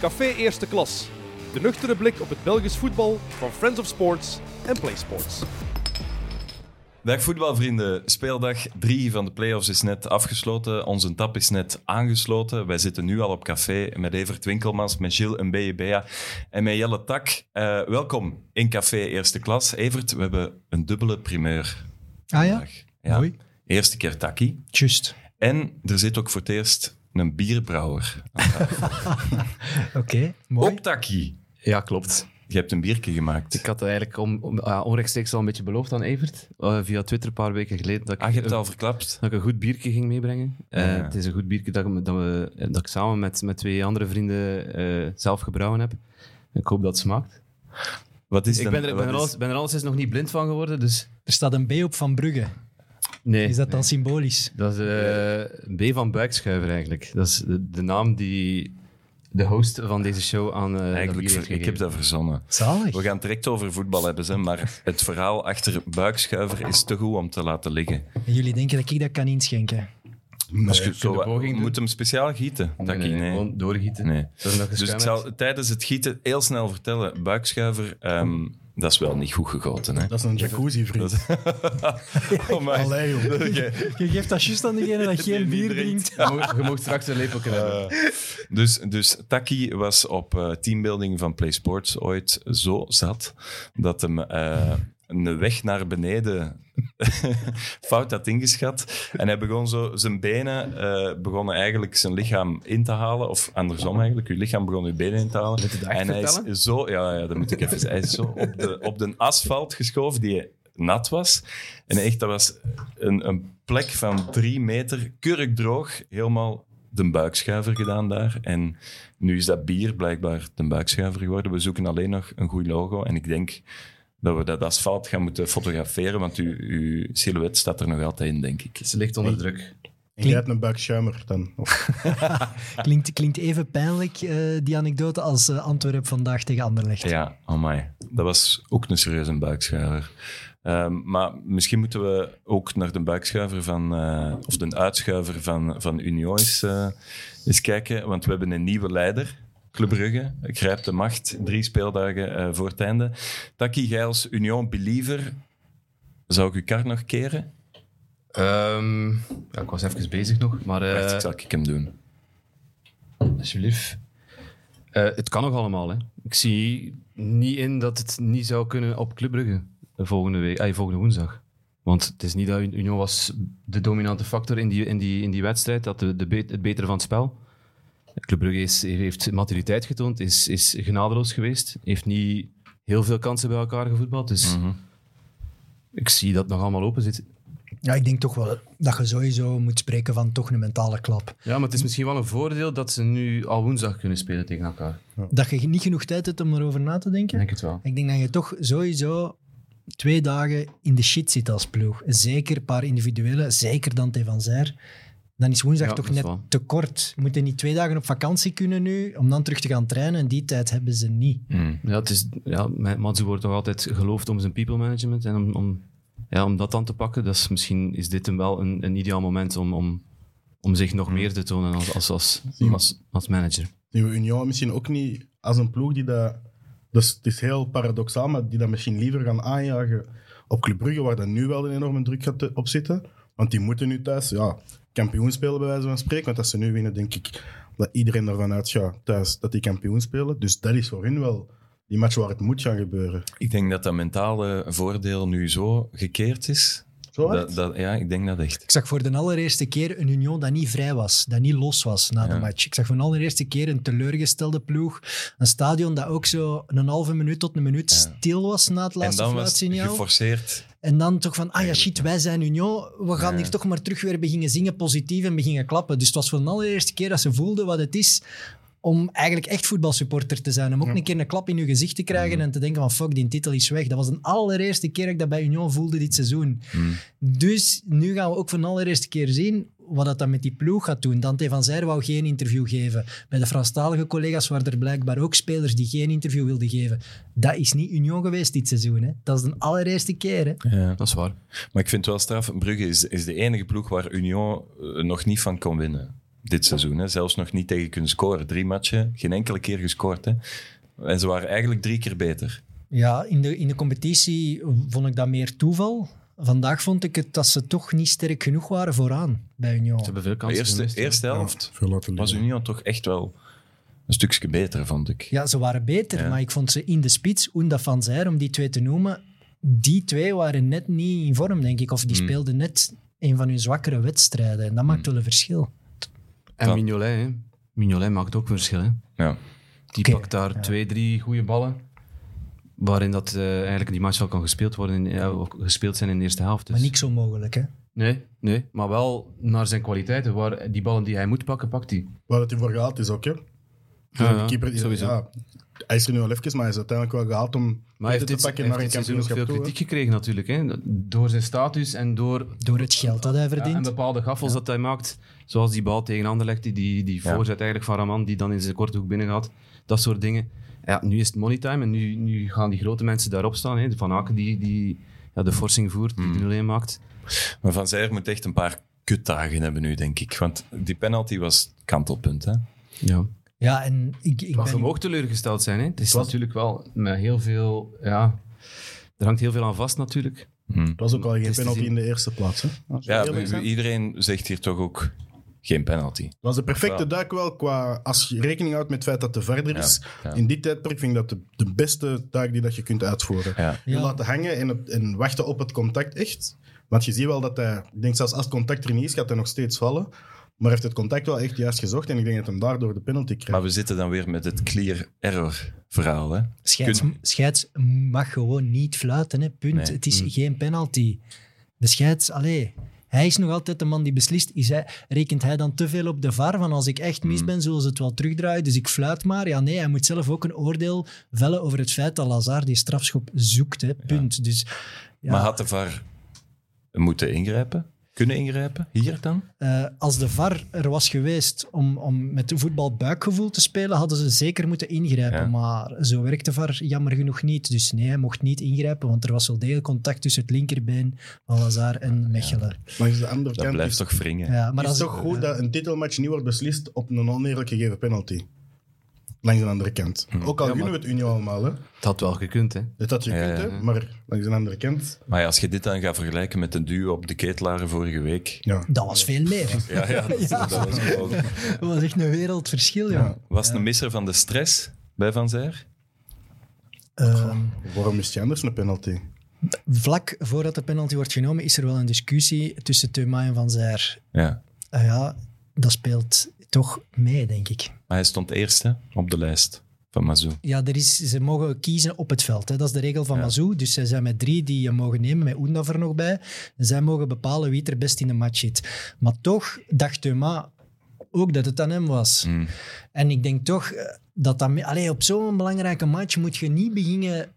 Café Eerste Klas. De nuchtere blik op het Belgisch voetbal van Friends of Sports en PlaySports. Dag voetbalvrienden. Speeldag 3 van de playoffs is net afgesloten. Onze tap is net aangesloten. Wij zitten nu al op café met Evert Winkelmans, met Gilles Mbeyebea en met Jelle Tak. Eh, welkom in Café Eerste Klas. Evert, we hebben een dubbele primeur Ah ja? vandaag. Ja. Mooi. Eerste keer Taki. Just. En er zit ook voor het eerst een bierbrouwer. Oké, mooi. Ook Taki. Ja, klopt. Je hebt een biertje gemaakt. Ik had het eigenlijk om, om- ah, onrechtstreeks al een beetje beloofd aan Evert. eh, via Twitter een paar weken geleden. Dat ik, Ah, je hebt het een- al verklapt. dat ik een goed biertje ging meebrengen. Eh, Ja. Het is een goed biertje dat, ik me- dat, we, eh, dat ik samen met, met twee andere vrienden eh, zelf gebrouwen heb. Ik hoop dat het smaakt. Wat is Ik Dus dan- ben er, wat ben, er is- alles, ben er alleszins nog niet blind van geworden, dus... Er staat een B op Van Brugge. Nee, Is dat dan symbolisch? dat is eh, een B van buikschuiver eigenlijk. Dat is de, de naam die de host van deze show aan eh, dat bier Eigenlijk, heeft ver- ik heb gegeven. dat verzonnen. Zalig. We gaan het direct over voetbal hebben, hè, maar het verhaal achter buikschuiver is te goed om te laten liggen. En jullie denken dat ik dat kan inschenken? Als je zo de poging moet doen? hem speciaal gieten. Nee, Taki, nee, nee, nee. Gewoon doorgieten. Nee. Dat is nog Dus ik geschuimd. zal tijdens het gieten heel snel vertellen. Buikschuiver, ehm, dat is wel niet goed gegoten. Hè? Dat is een jacuzzi, vriend. Oh, maar- Allee, joh. Je geeft dat juist aan degene dat geen bier drinkt. drinkt. Je mag- Je mag straks een lepel krijgen. Dus, dus Taki was op eh, teambuilding van PlaySports ooit zo zat dat hem eh, een weg naar beneden fout had ingeschat. En hij begon zo zijn benen eh, begonnen eigenlijk zijn lichaam in te halen. Of andersom eigenlijk, uw lichaam begon uw benen in te halen. je dat echt en hij is vertellen? zo, ja, ja, dat moet ik even zeggen. Hij is zo op de, op de asfalt geschoven die nat was. En echt, dat was een, een plek van drie meter, kurkdroog, helemaal de buikschuiver gedaan daar. En nu is dat bier blijkbaar de buikschuiver geworden. We zoeken alleen nog een goed logo. En ik denk dat we dat asfalt gaan moeten fotograferen, want uw, uw silhouet staat er nog altijd in, denk ik. Ze ligt onder druk. En jij hebt een buikschuimer dan. Of, Klinkt, klinkt even pijnlijk, eh, die anekdote, als eh, Antwerp vandaag tegen Anderlecht. Ja, amai. Dat was ook een serieuze buikschuiver. Ehm, maar misschien moeten we ook naar de buikschuiver van, eh, of de uitschuiver van, van Unio eens, eh, eens kijken. Want we hebben een nieuwe leider. Club Brugge grijpt de macht. Drie speeldagen eh, voor het einde. Taki Geils, Union Believer. Zou ik uw kar nog keren? Ehm, ja, ik was even bezig nog, maar eh, Wacht, ik zal ik hem doen. alsjeblieft. Eh, het kan nog allemaal. Hè. Ik zie niet in dat het niet zou kunnen op Club Brugge volgende, week, ah, volgende woensdag. Want het is niet dat Un- Union was de dominante factor in die, in die, in die wedstrijd, dat de, de be- het betere van het spel. Club Brugge is, heeft maturiteit getoond, is, is genadeloos geweest, heeft niet heel veel kansen bij elkaar gevoetbald. Dus ik zie dat het nog allemaal open zit. Ja, ik denk toch wel dat je sowieso moet spreken van toch een mentale klap. Ja, maar het is misschien wel een voordeel dat ze nu al woensdag kunnen spelen tegen elkaar. Dat je niet genoeg tijd hebt om erover na te denken. het wel. Ik denk dat je toch sowieso twee dagen in de shit zit als ploeg. Zeker een paar individuele, zeker dan Van Zijr. Dan is woensdag Ja, toch dat is net waar. te kort. We moeten niet twee dagen op vakantie kunnen nu, om dan terug te gaan trainen. En die tijd hebben ze niet. Ja, het is, ja, mijn- Matsu wordt toch altijd geloofd om zijn people management. En om, om, ja, om dat dan te pakken, dat is, misschien is dit hem wel een, een ideaal moment om, om, om zich Hmm. nog meer te tonen als, als, als, als, als manager. die we Union misschien ook niet als een ploeg die dat... Dus het is heel paradoxaal, maar die dat misschien liever gaan aanjagen op Club Brugge, waar dan nu wel een enorme druk gaat eh, op zitten. Want die moeten nu thuis ja, kampioen spelen, bij wijze van spreken. Want als ze nu winnen, denk ik dat iedereen ervan uitgaat thuis dat die kampioen spelen. Dus dat is voor hun wel die match waar het moet gaan gebeuren. Ik denk dat dat mentale voordeel nu zo gekeerd is. Zo hard? Dat, dat, ja, ik denk dat echt. Ik zag voor de allereerste keer een Union dat niet vrij was, dat niet los was na de match. Ik zag voor de allereerste keer een teleurgestelde ploeg. Een stadion dat ook zo een halve minuut tot een minuut stil was na het En laatste dan was het fluitsignaal. geforceerd. En dan toch van, ah ja, shit, wij zijn Union. We gaan hier toch maar terug weer beginnen zingen positief en beginnen klappen. Dus het was voor de allereerste keer dat ze voelden wat het is om eigenlijk echt voetbalsupporter te zijn. Om ook een keer een klap in je gezicht te krijgen en te denken van, fuck, die titel is weg. Dat was de allereerste keer dat ik dat bij Union voelde dit seizoen. Dus nu gaan we ook voor de allereerste keer zien wat dat dan met die ploeg gaat doen. Dante van Zijr wou geen interview geven. Bij de Franstalige collega's waren er blijkbaar ook spelers die geen interview wilden geven. Dat is niet Union geweest dit seizoen. Hè. Dat is de allereerste keer. Hè. Ja. Dat is waar. Maar ik vind het wel straf. Brugge is, is de enige ploeg waar Union eh, nog niet van kon winnen. dit seizoen. Hè. Zelfs nog niet tegen kunnen scoren. Drie matchen, geen enkele keer gescoord. Hè. En ze waren eigenlijk drie keer beter. Ja, in de, in de competitie vond ik dat meer toeval. Vandaag vond ik het dat ze toch niet sterk genoeg waren vooraan bij Ze Union. hebben veel De kansen. eerste, gemist, hè. eerste helft Veel laten was liggen. Union toch echt wel een stukje beter, vond ik. Ja, ze waren beter, Ja. maar ik vond ze in de spits, Oenda van Zijr, om die twee te noemen, die twee waren net niet in vorm, denk ik. Of die Hmm. speelden net een van hun zwakkere wedstrijden. En dat maakt wel een verschil. En Ja. Mignolet, hè. Mignolet maakt ook een verschil. Hè. Ja. Die Oké. pakt daar twee, drie goede ballen. Waarin dat eh, eigenlijk die match al kan gespeeld worden, in, ja, ook gespeeld zijn in de eerste helft. Dus. Maar niet zo mogelijk, hè. Nee, nee, maar wel naar zijn kwaliteiten. Waar die ballen die hij moet pakken, pakt hij. Waar dat hij voor gehaald is ook, hè? Ja, de ja, keeper, die- sowieso. Ja, hij is er nu al even, maar hij is uiteindelijk wel gehaald om Maar hij heeft punten dit, te pakken hij naar een heeft dit seizoen ook kampioenschap veel toe. hè. kritiek gekregen natuurlijk. Hè? Door zijn status en door Door het geld dat hij ja, en verdient. bepaalde gaffels dat hij maakt. Zoals die bal tegen Anderlecht, die, die, die Ja. voorzet eigenlijk van Raman, die dan in zijn korte hoek binnengaat. Dat soort dingen. Ja, nu is het money time en nu, nu gaan die grote mensen daarop staan. Hè? De Van Aken die, die ja, de forcing voert, die de 0-1 maakt. Maar Van Zijer moet echt een paar kutdagen hebben nu, denk ik. Want die penalty was het kantelpunt. Hè? Ja. Ja, en ik, ik Maar ben... ze mogen teleurgesteld zijn. Hè? Het is natuurlijk wel met heel veel... Ja, er hangt heel veel aan vast natuurlijk. Het was ook al geen is te penalty zien. in de eerste plaats. Hè? Als we Ja, eerlijk zijn. iedereen zegt hier toch ook geen penalty. Het was de perfecte Ja. duik wel, qua, als je rekening houdt met het feit dat het verder is. ja. In die tijdperk vind ik dat de, de beste duik die dat je kunt uitvoeren. Ja. Je Ja. laten hangen en, op- en wachten op het contact echt. Want je ziet wel dat hij, ik denk zelfs als het contact er niet is, gaat hij nog steeds vallen. Maar hij heeft het contact wel echt juist gezocht en ik denk dat hem daardoor de penalty krijgt. Maar we zitten dan weer met het clear error verhaal. Hè? Scheids, Kun- scheids mag gewoon niet fluiten, hè. punt. Nee. Mm. Het is geen penalty. De scheids, allee, hij is nog altijd de man die beslist. Is hij, rekent hij dan te veel op de VAR van als ik echt mis Mm. ben, zullen ze het wel terugdraaien, dus ik fluit maar. Ja, nee, hij moet zelf ook een oordeel vellen over het feit dat Lazar die strafschop zoekt, hè. punt. Dus ja, Maar had de VAR moeten ingrijpen? Kunnen ingrijpen? Hier dan? eh, als de VAR er was geweest om, om met voetbal buikgevoel te spelen, hadden ze zeker moeten ingrijpen. Ja. Maar zo werkte VAR jammer genoeg niet. Dus nee, hij mocht niet ingrijpen, want er was wel degelijk contact tussen het linkerbeen van Lazar en Mechelen. Maar aan de andere Dat kant blijft is, toch wringen. Ja. maar is als, eh, toch goed dat een titelmatch niet wordt beslist op een oneerlijk gegeven penalty. Langs de andere kant. Hmm. Ook al Ja, gunnen we het Unie allemaal. Hè. Het had wel gekund, hè. Dat had je Ja, kunt, ja, hè. maar langs de andere kant. Maar ja, als je dit dan gaat vergelijken met de duw op de ketelaren vorige week. Ja. dat was veel meer. Ja, ja, dat, dat was geweldig. Dat was echt een wereldverschil, ja. Was het een misser van de stress bij Van Zijer? Ehm, Waarom is het anders een penalty? vlak voordat de penalty wordt genomen, is er wel een discussie tussen Teuma en Van Zijr. Ja. Ah ja, dat speelt toch mee, denk ik. Maar hij stond eerste op de lijst van Mazou. Ja, er is, ze mogen kiezen op het veld. Hè. Dat is de regel van Mazou. Dus zij zijn met drie die je mogen nemen, met Oendaf er nog bij. En zij mogen bepalen wie het er best in de match zit. Maar toch dacht Thuma ook dat het aan hem was. Hmm. En ik denk toch eh, dat dat... me- Allee, op zo'n belangrijke match moet je niet beginnen...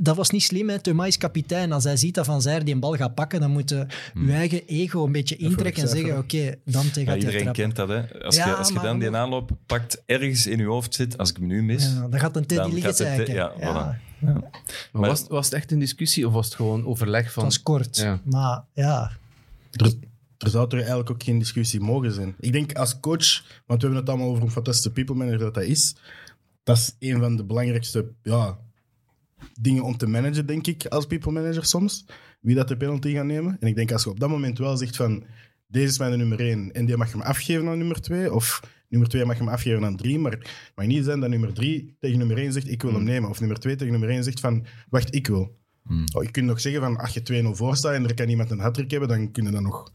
Dat was niet slim, hè. Thuma is kapitein. Als hij ziet dat Van Zijr die een bal gaat pakken, dan moet je Hmm. je eigen ego een beetje intrekken en zeggen, wegcijferen. oké, dan tegen Ja, gaat hij iedereen trappen. kent dat, hè. Als, Ja, je, als je maar dan die anders- aanloop pakt, ergens in je hoofd zit, als ik hem nu mis... Ja, dan gaat een Teddy Dan liggen gaat het- zeiken. ja, voilà. Maar, Maar- was, het- was het echt een discussie of was het gewoon overleg Het van... was kort, Ja. maar ja... Er, er zou er eigenlijk ook geen discussie mogen zijn. Ik denk als coach, want we hebben het allemaal over een fantastische people manager dat hij is. Dat is een van de belangrijkste ja, dingen om te managen, denk ik, als people manager soms. Wie dat de penalty gaat nemen. En ik denk als je op dat moment wel zegt van, deze is mijn nummer één en die mag je hem afgeven aan nummer twee. Of nummer twee mag je hem afgeven aan drie. Maar het mag niet zijn dat nummer drie tegen nummer één zegt, ik wil hem nemen. Of nummer twee tegen nummer één zegt van, wacht, ik wil. Oh, je kunt nog zeggen van als je 2-0 voor staat en er kan iemand een hat-trick hebben, dan kunnen dat nog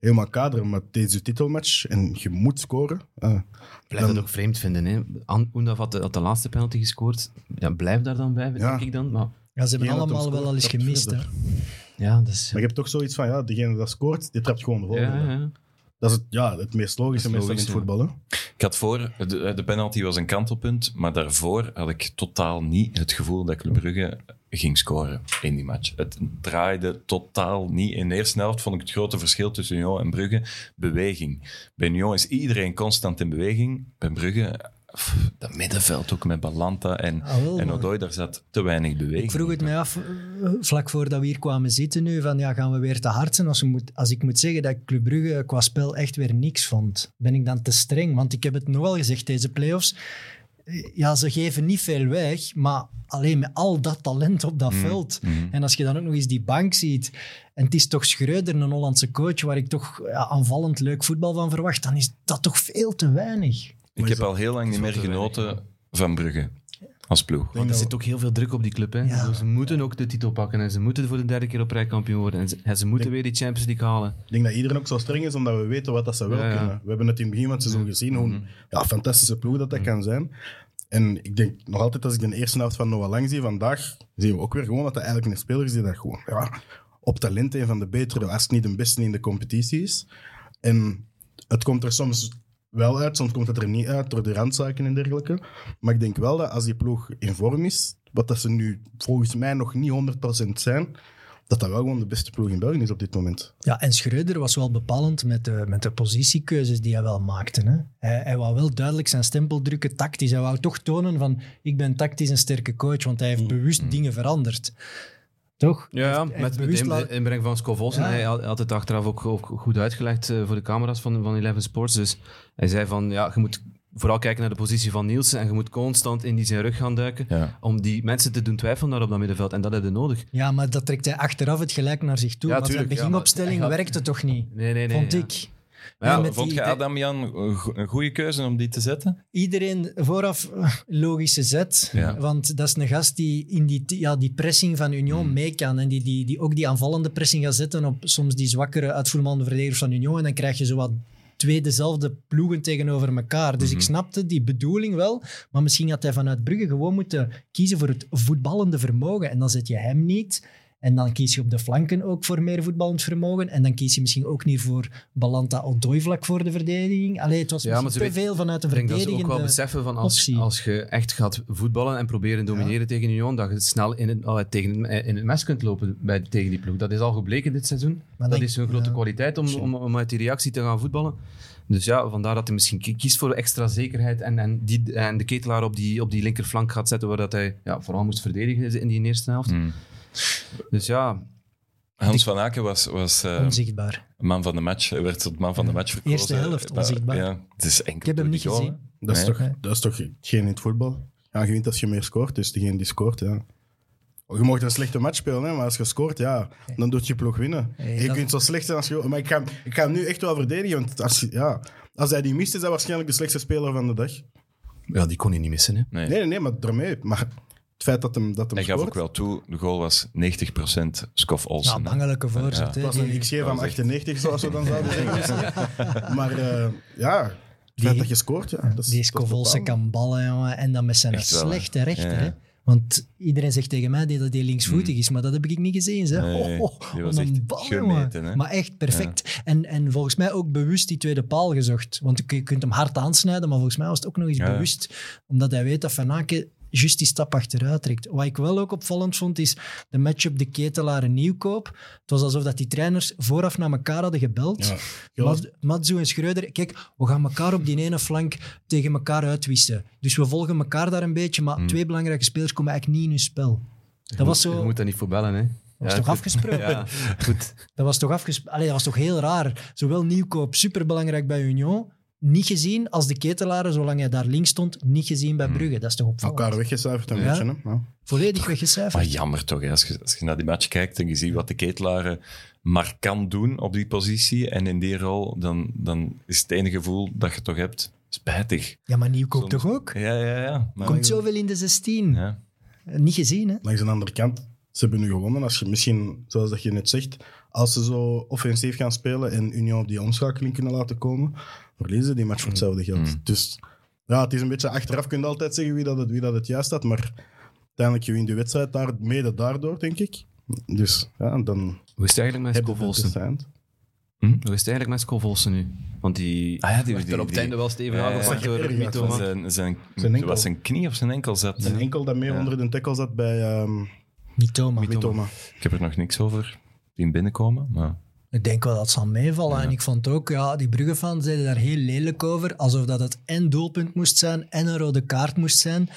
helemaal kaderen. Maar deze titelmatch en je moet scoren. Ah. Ik blijf het ook vreemd vinden. Hè. An- Oendaf had de, had de laatste penalty gescoord. Ja, blijf daar dan bij, Ja. denk ik dan. Maar Ja, ze hebben Degene dat hem allemaal wel scoort, al eens trapt gemist. Hè. verder. ja, dat is... Maar je hebt toch zoiets van ja, degene dat scoort, die trapt gewoon de Ja, volgende. ja, ja. Dat is het, ja, het meest logische Dat is meestal in het logisch, voetbal. hè. Ik had voor, de, de penalty was een kantelpunt, maar daarvoor had ik totaal niet het gevoel dat Club Brugge ging scoren in die match. Het draaide totaal niet. In de eerste helft vond ik het grote verschil tussen Union en Brugge beweging. Bij Union is iedereen constant in beweging. Bij Brugge pff, dat middenveld ook met Balanta en, Ah, wel, en maar- Odoi, daar zat te weinig beweging. Ik vroeg het in. mij af, eh, vlak voordat we hier kwamen zitten nu, van ja, gaan we weer te hard zijn? Als, we moet, als ik moet zeggen dat ik Club Brugge qua spel echt weer niks vond, ben ik dan te streng? Want ik heb het nogal gezegd, deze play-offs, eh, ja, ze geven niet veel weg, maar alleen met al dat talent op dat veld. En als je dan ook nog eens die bank ziet, en het is toch Schreuder, een Hollandse coach, waar ik toch ja, aanvallend leuk voetbal van verwacht, dan is dat toch veel te weinig. Ik is heb dat- al heel lang niet meer wel te genoten van Brugge als ploeg. denk Want er dat- zit ook heel veel druk op die club. Hè. Dus Ja. Ze moeten ook de titel pakken en ze moeten voor de derde keer op rij kampioen worden. En ze, en ze moeten weer die Champions League halen. Ik denk dat iedereen ook zo streng is, omdat we weten wat dat ze wel Ja, Mhm. ja. kunnen. We hebben het in het begin van het seizoen gezien, hoe een ja, fantastische ploeg dat dat Mhm. kan zijn. En ik denk nog altijd, als ik de eerste helft van Noah Lang zie vandaag, zien we ook weer gewoon dat dat eigenlijk een speler is die dat gewoon ja, op talent een van de betere, als het niet de beste in de competitie is. En het komt er soms wel uit, soms komt het er niet uit door de randzaken en dergelijke. Maar ik denk wel dat als die ploeg in vorm is, wat dat ze nu volgens mij nog niet 100% zijn, dat dat wel gewoon de beste ploeg in België is op dit moment. Ja, en Schreuder was wel bepalend met de, met de positiekeuzes die hij wel maakte. Hè? Hij, hij wou wel duidelijk zijn stempel drukken, tactisch. Hij wou toch tonen van, ik ben tactisch een sterke coach, want hij Mm. heeft bewust dingen veranderd. Toch? Ja, ja, echt met, met de bewust in- laten- inbreng van Scovos. Ja. En hij had, had het achteraf ook, ook goed uitgelegd eh, voor de camera's van, van Eleven Sports. Dus hij zei van, ja, je moet vooral kijken naar de positie van Nielsen en je moet constant in die zijn rug gaan duiken Ja. om die mensen te doen twijfelen daar op dat middenveld. En dat hebben we nodig. Ja, maar dat trekt hij achteraf het gelijk naar zich toe. Ja, want zijn tuurlijk, ja, maar beginopstelling hij gaat- werkte toch niet, Nee, nee, nee. vond ja. ik. Maar ja, En met Vond die- je Adam Jan een go- een goede keuze om die te zetten? iedereen vooraf eh, logische zet. Ja. Want dat is een gast die in die, ja, die pressing van Union Hmm. mee kan. En die, die, die ook die aanvallende pressing gaat zetten op soms die zwakkere uitvoermande verdedigers van Union. En dan krijg je zo wat twee dezelfde ploegen tegenover elkaar. Dus Hmm. ik snapte die bedoeling wel. Maar misschien had hij vanuit Brugge gewoon moeten kiezen voor het voetballende vermogen. En dan zet je hem niet. En dan kies je op de flanken ook voor meer voetballend vermogen. En dan kies je misschien ook niet voor Balanta Odoi vlak voor de verdediging. Allee, het was Ja, misschien maar ze te weet- veel vanuit een Ik denk dat ze ook wel verdedigende... beseffen van als, optie. als je echt gaat voetballen en proberen domineren tegen Union, dat je snel in het, allee, tegen, eh, in het mes kunt lopen bij, tegen die ploeg. Dat is al gebleken dit seizoen. Maar dat denk- is een grote ja. kwaliteit om, om, om uit die reactie te gaan voetballen. Dus ja, vandaar dat hij misschien ki- kiest voor extra zekerheid en, en, die, en de ketelaar op die, op die linkerflank gaat zetten, waar dat hij ja, vooral moest verdedigen in die eerste helft. Dus ja, Hans van Aken was, was eh, Onzichtbaar. man van de match. Hij werd tot man van de match verkozen. Eerste helft, Eh, maar- onzichtbaar. Ja, het is enkel Ik heb hem door niet die goal, gezien. Dat, is Nee. toch, dat is toch geen in het voetbal? Ja, je wint als je meer scoort, dus degene die scoort, ja. Oh, Je mocht een slechte match spelen, hè, maar als je scoort, ja, dan doet je ploeg winnen. Nee, En je dat- kunt zo slecht zijn als je... Maar ik ga, hem- ik ga hem nu echt wel verdedigen, want als, je- ja, als hij die mist, is hij waarschijnlijk de slechtste speler van de dag. ja, die kon hij niet missen. Hè. hè. Nee. Nee, nee, nee, maar daarmee. Maar het feit dat hem, dat hem Hij gaf scoort, ook wel toe, de goal was 90% Scoff Ja, Olsen. hè. bangelijke voorzet. Ja. hè. het was een XG van 98, zoals we dan zouden zeggen. Maar eh, ja, het feit Die- dat je scoort, ja. Dat is, Die dat is Scovolse bepalend. kan ballen, jongen. En dan met zijn Echt wel, hè. slechte rechter. Ja. Hmm. Hè? Want iedereen zegt tegen mij dat hij linksvoetig is, maar dat heb ik niet gezien. Zeg. Nee, Oh, oh, die was wat een echt bal, gemeten, jongen. hè. Maar echt perfect. En, en volgens mij ook bewust die tweede paal gezocht. Want je kunt hem hard aansnijden, maar volgens mij was het ook nog eens Ja. bewust. Omdat hij weet dat Van Aken juist die stap achteruit trekt. Wat ik wel ook opvallend vond, is de matchup de ketelaar en nieuwkoop. Het was alsof dat die trainers vooraf naar elkaar hadden gebeld. Ja. Mats- Matsu en Schreuder, kijk, we gaan elkaar op die ene flank tegen elkaar uitwissen. Dus we volgen elkaar daar een beetje, maar twee belangrijke spelers komen eigenlijk niet in hun spel. Dat was Je zo... moet daar niet voor bellen, hè. Dat was Ja, toch goed. afgesproken? Ja, goed. Dat was toch afgesproken? Allee, dat was toch heel raar. Zowel Nieuwkoop, superbelangrijk bij Union, niet gezien, als de ketelaren, zolang hij daar links stond, niet gezien bij Brugge. Dat is toch opvallend? Elkaar weggecijferd een Ja. beetje, hè. Ja. Volledig weggecijferd. Maar jammer toch, hè. Als, je, als je naar die match kijkt en je ziet wat de ketelaren maar kan doen op die positie en in die rol, dan, dan is het enige gevoel dat je toch hebt, spijtig. Ja, maar Nieuwkoop Soms- toch ook? Ja, ja, ja. Maar, Komt zoveel in de 16. ja. Eh, Niet gezien, hè? Langs de andere kant, ze hebben nu gewonnen. Als je misschien, zoals dat je net zegt, als ze zo offensief gaan spelen en Union op die omschakeling kunnen laten komen, verliezen ze die match voor Mm. hetzelfde geld. Dus ja, het is een beetje achteraf. Kun je altijd zeggen wie dat het, wie dat het juist had, maar uiteindelijk win je de wedstrijd daar, mede daardoor, denk ik. Dus ja, dan Hoe is het eigenlijk met heb je het Scovolsen? eind. Hoe is het eigenlijk met Scovolsen nu? Want die, Ah ja, die- werd die- er op het die- einde wel stevig Ja, ja, aangepakt ja. door Ja, Mito. van man. Zijn, zijn, Zijn enkel. was zijn knie of zijn enkel zat. Een enkel dat mee Ja. onder de tackle zat bij ehm Niet Thomas. Mitoma. Ik heb er nog niks over zien binnenkomen, maar... Ik denk wel dat het zal meevallen. En ik vond ook, ja, die Brugge-fans zeiden daar heel lelijk over. Alsof dat het en doelpunt moest zijn en een rode kaart moest zijn.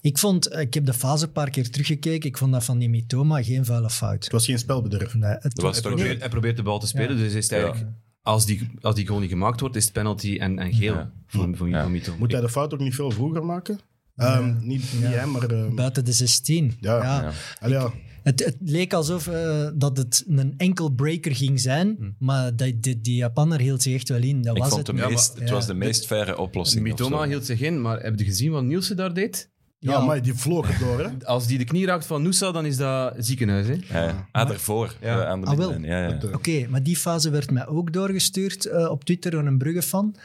Ik vond, eh, ik heb de fase een paar keer teruggekeken. Ik vond dat van die Mitoma geen vuile fout. Het was geen spelbedrijf. Nee, het Dat was toch probeert, hij probeert de bal te spelen, dus is het eigenlijk... Als die, als die goal niet gemaakt wordt, is het penalty en, en geel Ja. voor, voor, Ja. voor Mito. Moet hij de fout ook niet veel vroeger maken? Ehm, niet niet hem, maar... ehm, buiten de 16. Ja, ja. allee, ja. Het, het leek alsof eh, dat het een enkel breaker ging zijn, maar die, die, die Japaner hield zich echt wel in. Dat Hm. Ik was vond het. de meest, het ja. was de meest faire oplossing. of Mitoma zo. hield zich in, maar heb je gezien wat Nielsen daar deed? Ja, Ja. maar die vloog er door, hè. Als die de knie raakt van Noosa, dan is dat ziekenhuis. Hè? Ja. Ah, daarvoor. Ja. eh, aan de Ah, wel. middenlijn. Ja, ja. Dat, eh, Oké, maar die fase werd mij ook doorgestuurd eh, op Twitter door een Brugge-fan.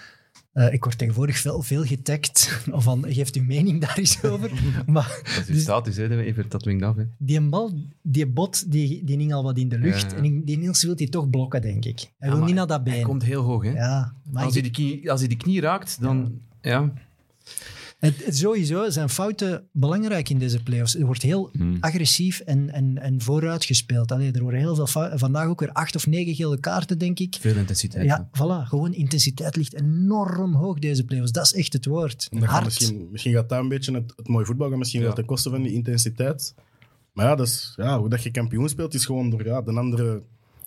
Eh, ik word tegenwoordig veel, veel getagd van geeft uw mening daar eens over. maar dus Dat is statisch, hè? even dat wingt af. Hè? die bal, die bot, die, die hing al wat in de lucht. Ja, ja. En die- die Niels wil die toch blokken, denk ik. Hij wil maar niet naar dat Hij been. komt heel hoog. Hè? Ja, maar als, ik- hij de knie, als hij de knie raakt, dan... Ja. Het, het- sowieso zijn fouten belangrijk in deze playoffs. Er wordt heel Hmm. agressief en, en, en vooruit gespeeld. Allee, er worden heel veel fouten. Vandaag ook weer acht of negen gele kaarten, denk ik. Veel intensiteit. Ja, voilà. Gewoon intensiteit ligt enorm hoog deze playoffs. Dat is echt het woord. dat gaat Hard. misschien, misschien gaat daar een beetje het, het mooie voetbal gaan misschien Ja. wel ten koste van die intensiteit. Maar ja, dat is, ja hoe dat je kampioen speelt, is gewoon door ja, de andere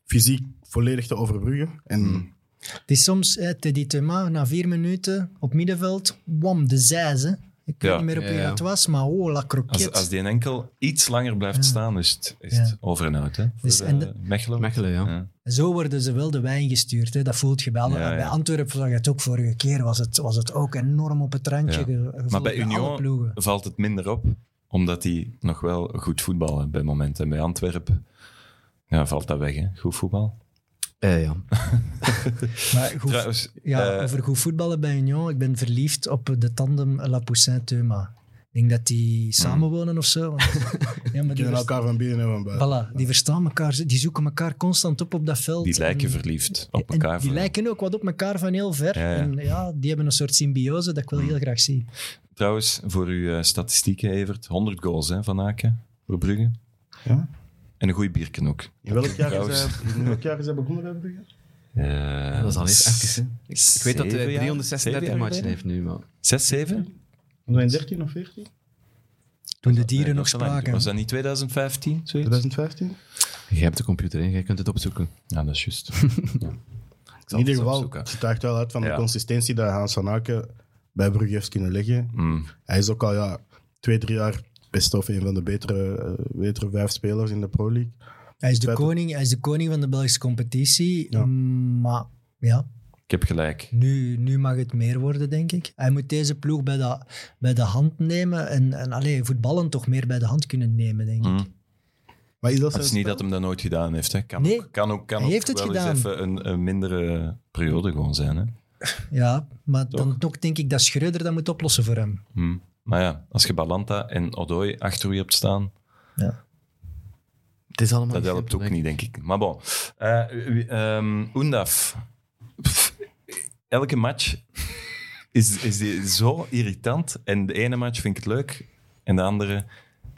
fysiek volledig te overbruggen. En Het is soms eh, Teddy Thema na vier minuten op middenveld. Wam, de zes. hè. Ik weet Ja. niet meer op wie Ja, ja. dat was, maar oh, la Als, croquette. als die enkel iets langer blijft staan, is het, is Ja. het over en uit. Hè? Voor, Dus en eh, Mechelen. Mechelen, ja. Ja. Zo worden ze wel de wijn gestuurd. Hè. Dat voelt je wel. Ja, ja. Bij Antwerpen zag je het ook vorige keer. Was het, was het ook enorm op het randje Ja. ge- gevoeld Maar bij alle Union ploegen. valt het minder op, omdat die nog wel goed voetballen bij momenten. En bij Antwerpen ja, valt dat weg, hè? goed voetbal. Eh, ja. Maar goed, Trouwens, ja, eh, over goed voetballen bij Union. Ik ben verliefd op de tandem Lapoussin-Teuma. Ik denk dat Hmm. die samenwonen of zo. want- ja, dus- maar die, kennen vers- elkaar van binnen en van buiten. voilà, die verstaan elkaar. ze- Die zoeken elkaar constant op op dat veld. die lijken En- verliefd op eh, en elkaar. die voor- lijken ook wat op elkaar van heel ver. Ja, Hmm. ja. En ja, die hebben een soort symbiose dat ik wel heel graag zie. Trouwens, voor uw eh, statistieken, Evert, 100 goals hè, van Aken voor Brugge. Ja. En een goede bierken ook. In welk jaar is Trouwens. hij, in welk jaar is hij begonnen bij Brugge? Eh, Dat is al eens even. Hè. Ik, ik weet dat zeven hij jaar- 336 zeven jaar matchen geleden? heeft nu, maar... 6, 7? Was hij in 13 of 14? Toen de dieren Nee, nog dat was al lang. spraken. Was dat niet 2015? Zoiets? 2015? Jij hebt de computer, hè? Jij kunt het opzoeken. Ja, dat is juist. Ik In zal ieder het geval, opzoeken. het getuigt wel uit van Ja. de consistentie dat Hans van Aken bij Brugge heeft kunnen leggen. Hij is ook al ja, twee, drie jaar best of een van de betere, eh, betere vijf spelers in de Pro League. Hij is, de Verder. koning, hij is de koning van de Belgische competitie. Ja. Mm, Maar ja, Ik heb gelijk. nu, nu mag het meer worden, denk ik. Hij moet deze ploeg bij de, bij de hand nemen. En, en allee, voetballen toch meer bij de hand kunnen nemen, denk ik. Mm. Maar is dat, Het zijn is niet dat spel? hem dat nooit gedaan heeft. Hè. Kan, Nee, ook, kan ook, kan hij ook heeft het wel gedaan. eens even een, een mindere periode gewoon zijn. Hè. Ja, maar Toch? dan toch denk ik dat Schreuder dat moet oplossen voor hem. Hm. Maar ja, als je Balanta en Odoi achter u hebt staan, Het is allemaal dat niet helpt simpel, ook niet, denk ik. Maar bon. Eh, wie- ehm, Oendaf. Pff, Elke match is, is die zo irritant. En de ene match vind ik het leuk en de andere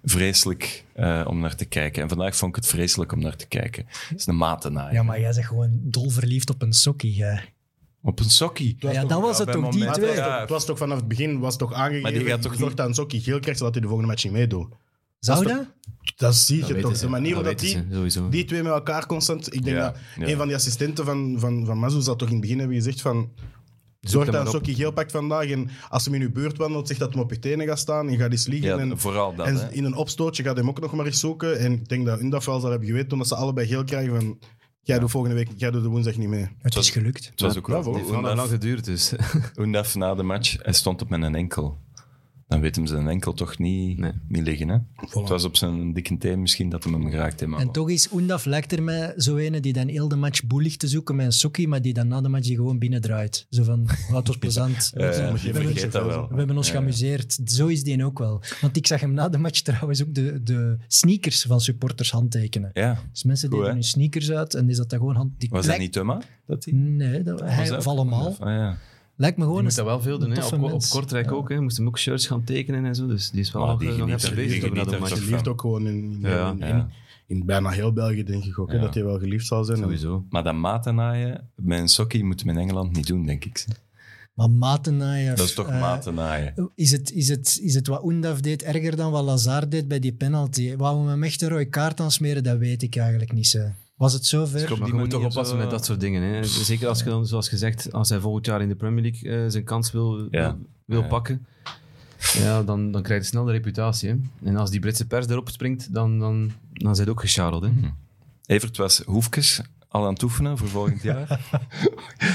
vreselijk eh, om naar te kijken. En vandaag vond ik het vreselijk om naar te kijken. Het is een matenaar. Ja, maar jij bent gewoon dolverliefd op een sokkie. Hè. Op een sokkie. Ja, toch- dan was ja, het bij toch die Maar momenten- het twee. was, Ja. toch, het was toch vanaf het begin was toch Maar aangegeven die gaat toch zorg niet- dat een sokkie geel krijgt, zodat hij de volgende match niet meedoet. Zou dat is dat? Dat zie Dat je weten toch. ze. De manier Dat waarop weten die, ze, sowieso. die twee met elkaar constant... Ik denk Ja, dat ja. een van die assistenten van, van, van Mazou zou toch in het begin hebben gezegd van... hem Zorg dat een maar op. sokkie geel pakt vandaag. En als hem in uw buurt wandelt, zeg dat hem op je tenen gaat staan. En gaat eens liggen. Ja, en vooral dat. hè. en in een opstootje gaat hem ook nog maar eens zoeken. En ik denk dat Undaf wel zal hebben geweten, omdat ze allebei geel krijgen van... Jij doet volgende week, jij doet de woensdag niet mee. Het is gelukt. Het was ook wel Bravo. die Het heeft wel Oendaf- lang geduurd, dus. Oendaf na de match, hij stond op met een enkel. Dan weet hem zijn enkel toch niet, Nee. niet liggen. Hè? Het was op zijn dikke teen misschien dat hem hem geraakt heeft. maar En wel. toch is Oendaf lijkt er mij zo ene die dan heel de match boel ligt te zoeken met een sokkie, maar die dan na de match die gewoon binnendraait. Zo van, wat was plezant. Eh, We je hebben- vergeet dat wel. We hebben ons geamuseerd. Zo is die ook wel. Want ik zag hem na de match trouwens ook de, de sneakers van supporters handtekenen. Ja, Dus mensen Goed, deden hè? hun sneakers uit en is dat dan gewoon hand... Die was dat lijkt- niet Thuma? Dat hij? Nee, dat, Was hij, dat of ook allemaal. Oendaf? Ah, ja. Lijkt me Je gewoon... moet dat wel veel doen, hè. toffe Op, op mens. Kortrijk ook, hè. Moest hem ook shirts gaan tekenen en zo, dus die is wel Maar nog, die eh, nog geniet er- even bezig die ook na geniet de er match. toch Je leeft ook gewoon in, in, Ja, in- ja. in- in bijna heel België denk ik ook, hè, Ja. dat hij wel geliefd zal zijn. Sowieso. Maar dat matennaaien met een sokkie moet men in Engeland niet doen, denk ik. Maar Matenaaier... Dat is toch eh, matennaaien. Is het, is, het, is het wat Oendaf deed erger dan wat Lazar deed bij die penalty? Waar we hem echt een rode kaart aan smeren, dat weet ik eigenlijk niet. Zo. Was het zover? Op Maar die je moet toch manier oppassen zo- met dat soort dingen. Hè. Zeker als je dan, zoals gezegd, als hij volgend jaar in de Premier League eh, zijn kans wil, Ja. wil Ja. pakken, ja, dan, dan krijg je snel de reputatie. Hè. En als die Britse pers erop springt, dan, dan, dan zijn het ook gescharreld. Hè. Evert was Hoefkes al aan het oefenen voor volgend jaar.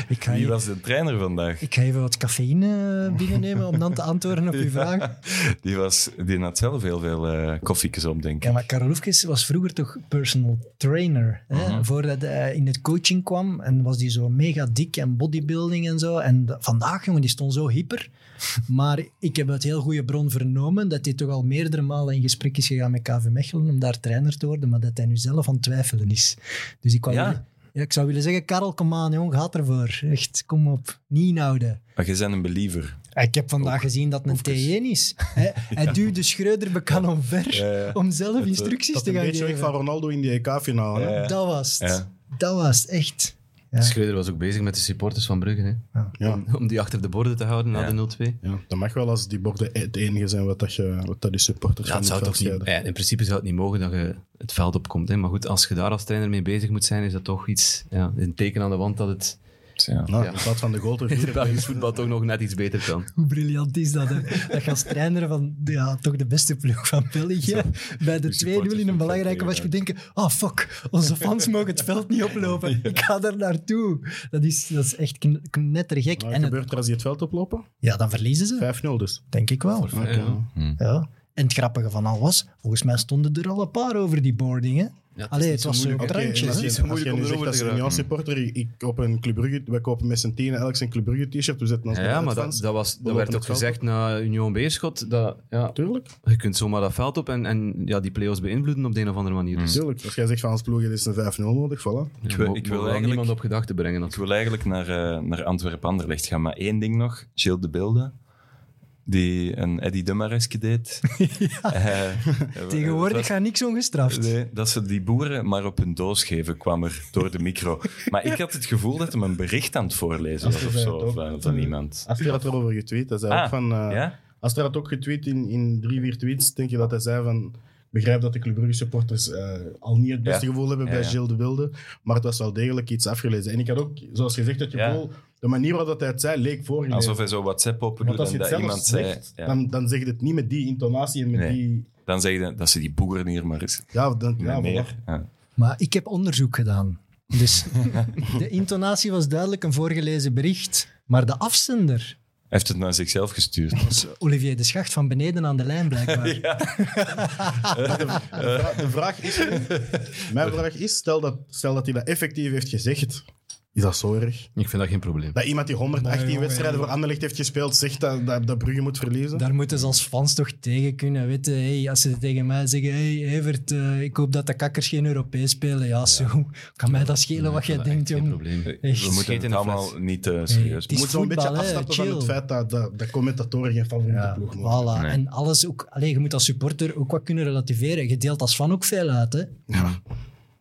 Ik ga, Wie je- was de trainer vandaag? ik ga even wat cafeïne eh, binnennemen om dan te antwoorden op uw vraag. Die, was, die had zelf heel veel eh koffiekes om, denk ik. Ja, maar Karel Hoefkes was vroeger toch personal trainer. Hè? Mhm. Voordat hij in het coaching kwam en was die zo mega dik en bodybuilding en zo. En da- vandaag, jongen, die stond zo hyper. Maar ik heb uit heel goede bron vernomen dat hij toch al meerdere malen in gesprek is gegaan met KV Mechelen om daar trainer te worden, maar dat hij nu zelf aan het twijfelen is. Dus ik, wou Ja. willen- ja, ik zou willen zeggen, Karel, kom aan, jong, gaat ervoor. Echt, kom op. Niet inhouden. Maar jij bent een believer. Ah, Ik heb vandaag gezien dat het een T1 is. Hij, hij duwde Schreuder bekan omver Ja, ja. om zelf Het, instructies Dat te is een gaan beetje weg van geven. Ronaldo in die E EK-finale. Ja. Ja. Dat was het. Ja. Dat was het, echt. Ja. Schreuder was ook bezig met de supporters van Brugge. Hè. Ja. Om die achter de borden te houden Ja. na de 0-2. dat mag wel als die borden e- het enige zijn wat, dat je, wat dat die supporters Ja, van het zou het toch veld niet, scheiden. ja, in principe zou het niet mogen dat je het veld opkomt. Hè. Maar goed, als je daar als trainer mee bezig moet zijn, is dat toch iets, ja, een teken aan de wand dat het Ja. Nou, Ja. in plaats van de goal te in het vieren, Belgisch voetbal toch nog net iets beter kan. Hoe briljant is dat, hè? Dat je als trainer van ja, toch de beste ploeg van België bij de Die supporters 2-0 in een van belangrijke match België, moet denken ah fuck, onze fans mogen het veld niet oplopen. Ik ga daar naartoe. Dat is, dat is echt kn- knettergek. Wat en het- gebeurt er als die het veld oplopen? 5-0 ja, dan verliezen ze. dus. Denk ik wel. Oké. ja. Ja. En het grappige van al was, volgens mij stonden er al een paar over die boarding. Hè? is Allee, het was zo op Oké, het en randje. als hè. je- is zo als moeilijk je om nu erover zegt te als een geraken. Union supporter, ik- ik koop een Club Brugge, wij kopen met z'n tienen elk zijn Club Brugge t-shirt, we zetten ons Ja, bij maar dat, uitfans. dat, was, dat lopen werd het ook veld gezegd na Union Beerschot. Dat, ja, Tuurlijk, je kunt zomaar dat veld op en, en ja, die play-offs beïnvloeden op de een of andere manier. Dus tuurlijk. Als jij zegt van als ploeg het is een 5-0 nodig, voilà. ja, Ik wil- mo- ik wil mogen we eigenlijk- niemand op gedachten brengen. Ik Dat wil eigenlijk naar, eh, naar Antwerpen-Anderlecht gaan. Maar één ding nog. Gilles de Beelden. Die een Eddie Dummaresque deed. Eh, eh, Tegenwoordig dat- gaat niks ongestraft. Nee, dat ze die boeren maar op hun doos geven, kwam er door de micro. Maar ik had het gevoel dat hem een bericht aan het voorlezen was of zo, van, van iemand. Aster had erover getweet, hij zei Ah, ook van... eh, Ja? Aster had ook getweet in, in drie, vier tweets, denk je dat hij zei van... Ik begrijp dat de Club Brugge supporters eh, al niet het beste Ja. gevoel hebben Ja, bij ja. Gilles de Wilde, maar het was wel degelijk iets afgelezen. En ik had ook, zoals gezegd, het Ja. gevoel, de manier waarop hij het zei, leek voorgelezen. Alsof hij zo WhatsApp open Want doet als je en het dat zelf iemand zei... zegt, Ja. Dan, dan, dan zeg je het niet met die intonatie en met Nee. die... zeg je dat ze die boeren hier maar eens... Ja, dan, ja, Ja, voilà. meer. Ah. Ja. Maar ik heb onderzoek gedaan. Dus de intonatie was duidelijk een voorgelezen bericht. Maar de afzender Hij heeft het naar zichzelf gestuurd. was Olivier de Schacht van beneden aan de lijn, blijkbaar. De, vra- de vraag is... mijn vraag is, stel dat, stel dat hij dat effectief heeft gezegd, is dat zo erg? Ik vind dat geen probleem. Dat iemand die 118 jongen, wedstrijden jongen. voor Anderlecht heeft gespeeld, zegt dat, dat, dat Brugge moet verliezen? Daar moeten ze als fans toch tegen kunnen weten. Hey, als ze tegen mij zeggen: Hey Evert, eh, ik hoop dat de kakkers geen Europees spelen. Ja, zo. Kan mij dat schelen wat jij denkt, Geen jong? probleem. Echt. We moeten Scheet in het de fles. allemaal niet eh, serieus het is Je moet zo'n beetje voetbal, hè, afstappen chill. van het feit dat, dat, dat commentatoren geen favoriete Ja, ploeg mogen. voilà. En alles ook, alleen je moet als supporter ook wat kunnen relativeren. Je deelt als fan ook veel uit, hè?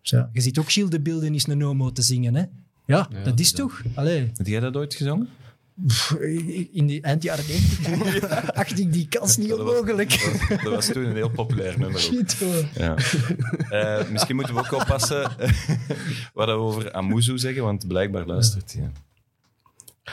Zo. Je ziet ook Shield de Beelden is een Nomo te zingen, hè? Ja, dat is toch? Allee, Heb jij dat ooit gezongen? pff, in die eind jaren 90 acht ik die kans niet Dat was- onmogelijk. Dat was, dat was toen een heel populair nummer. ook. Shit, hoor. Ja. Eh, misschien moeten we ook oppassen wat we over Amuzu zeggen, want blijkbaar luistert hij.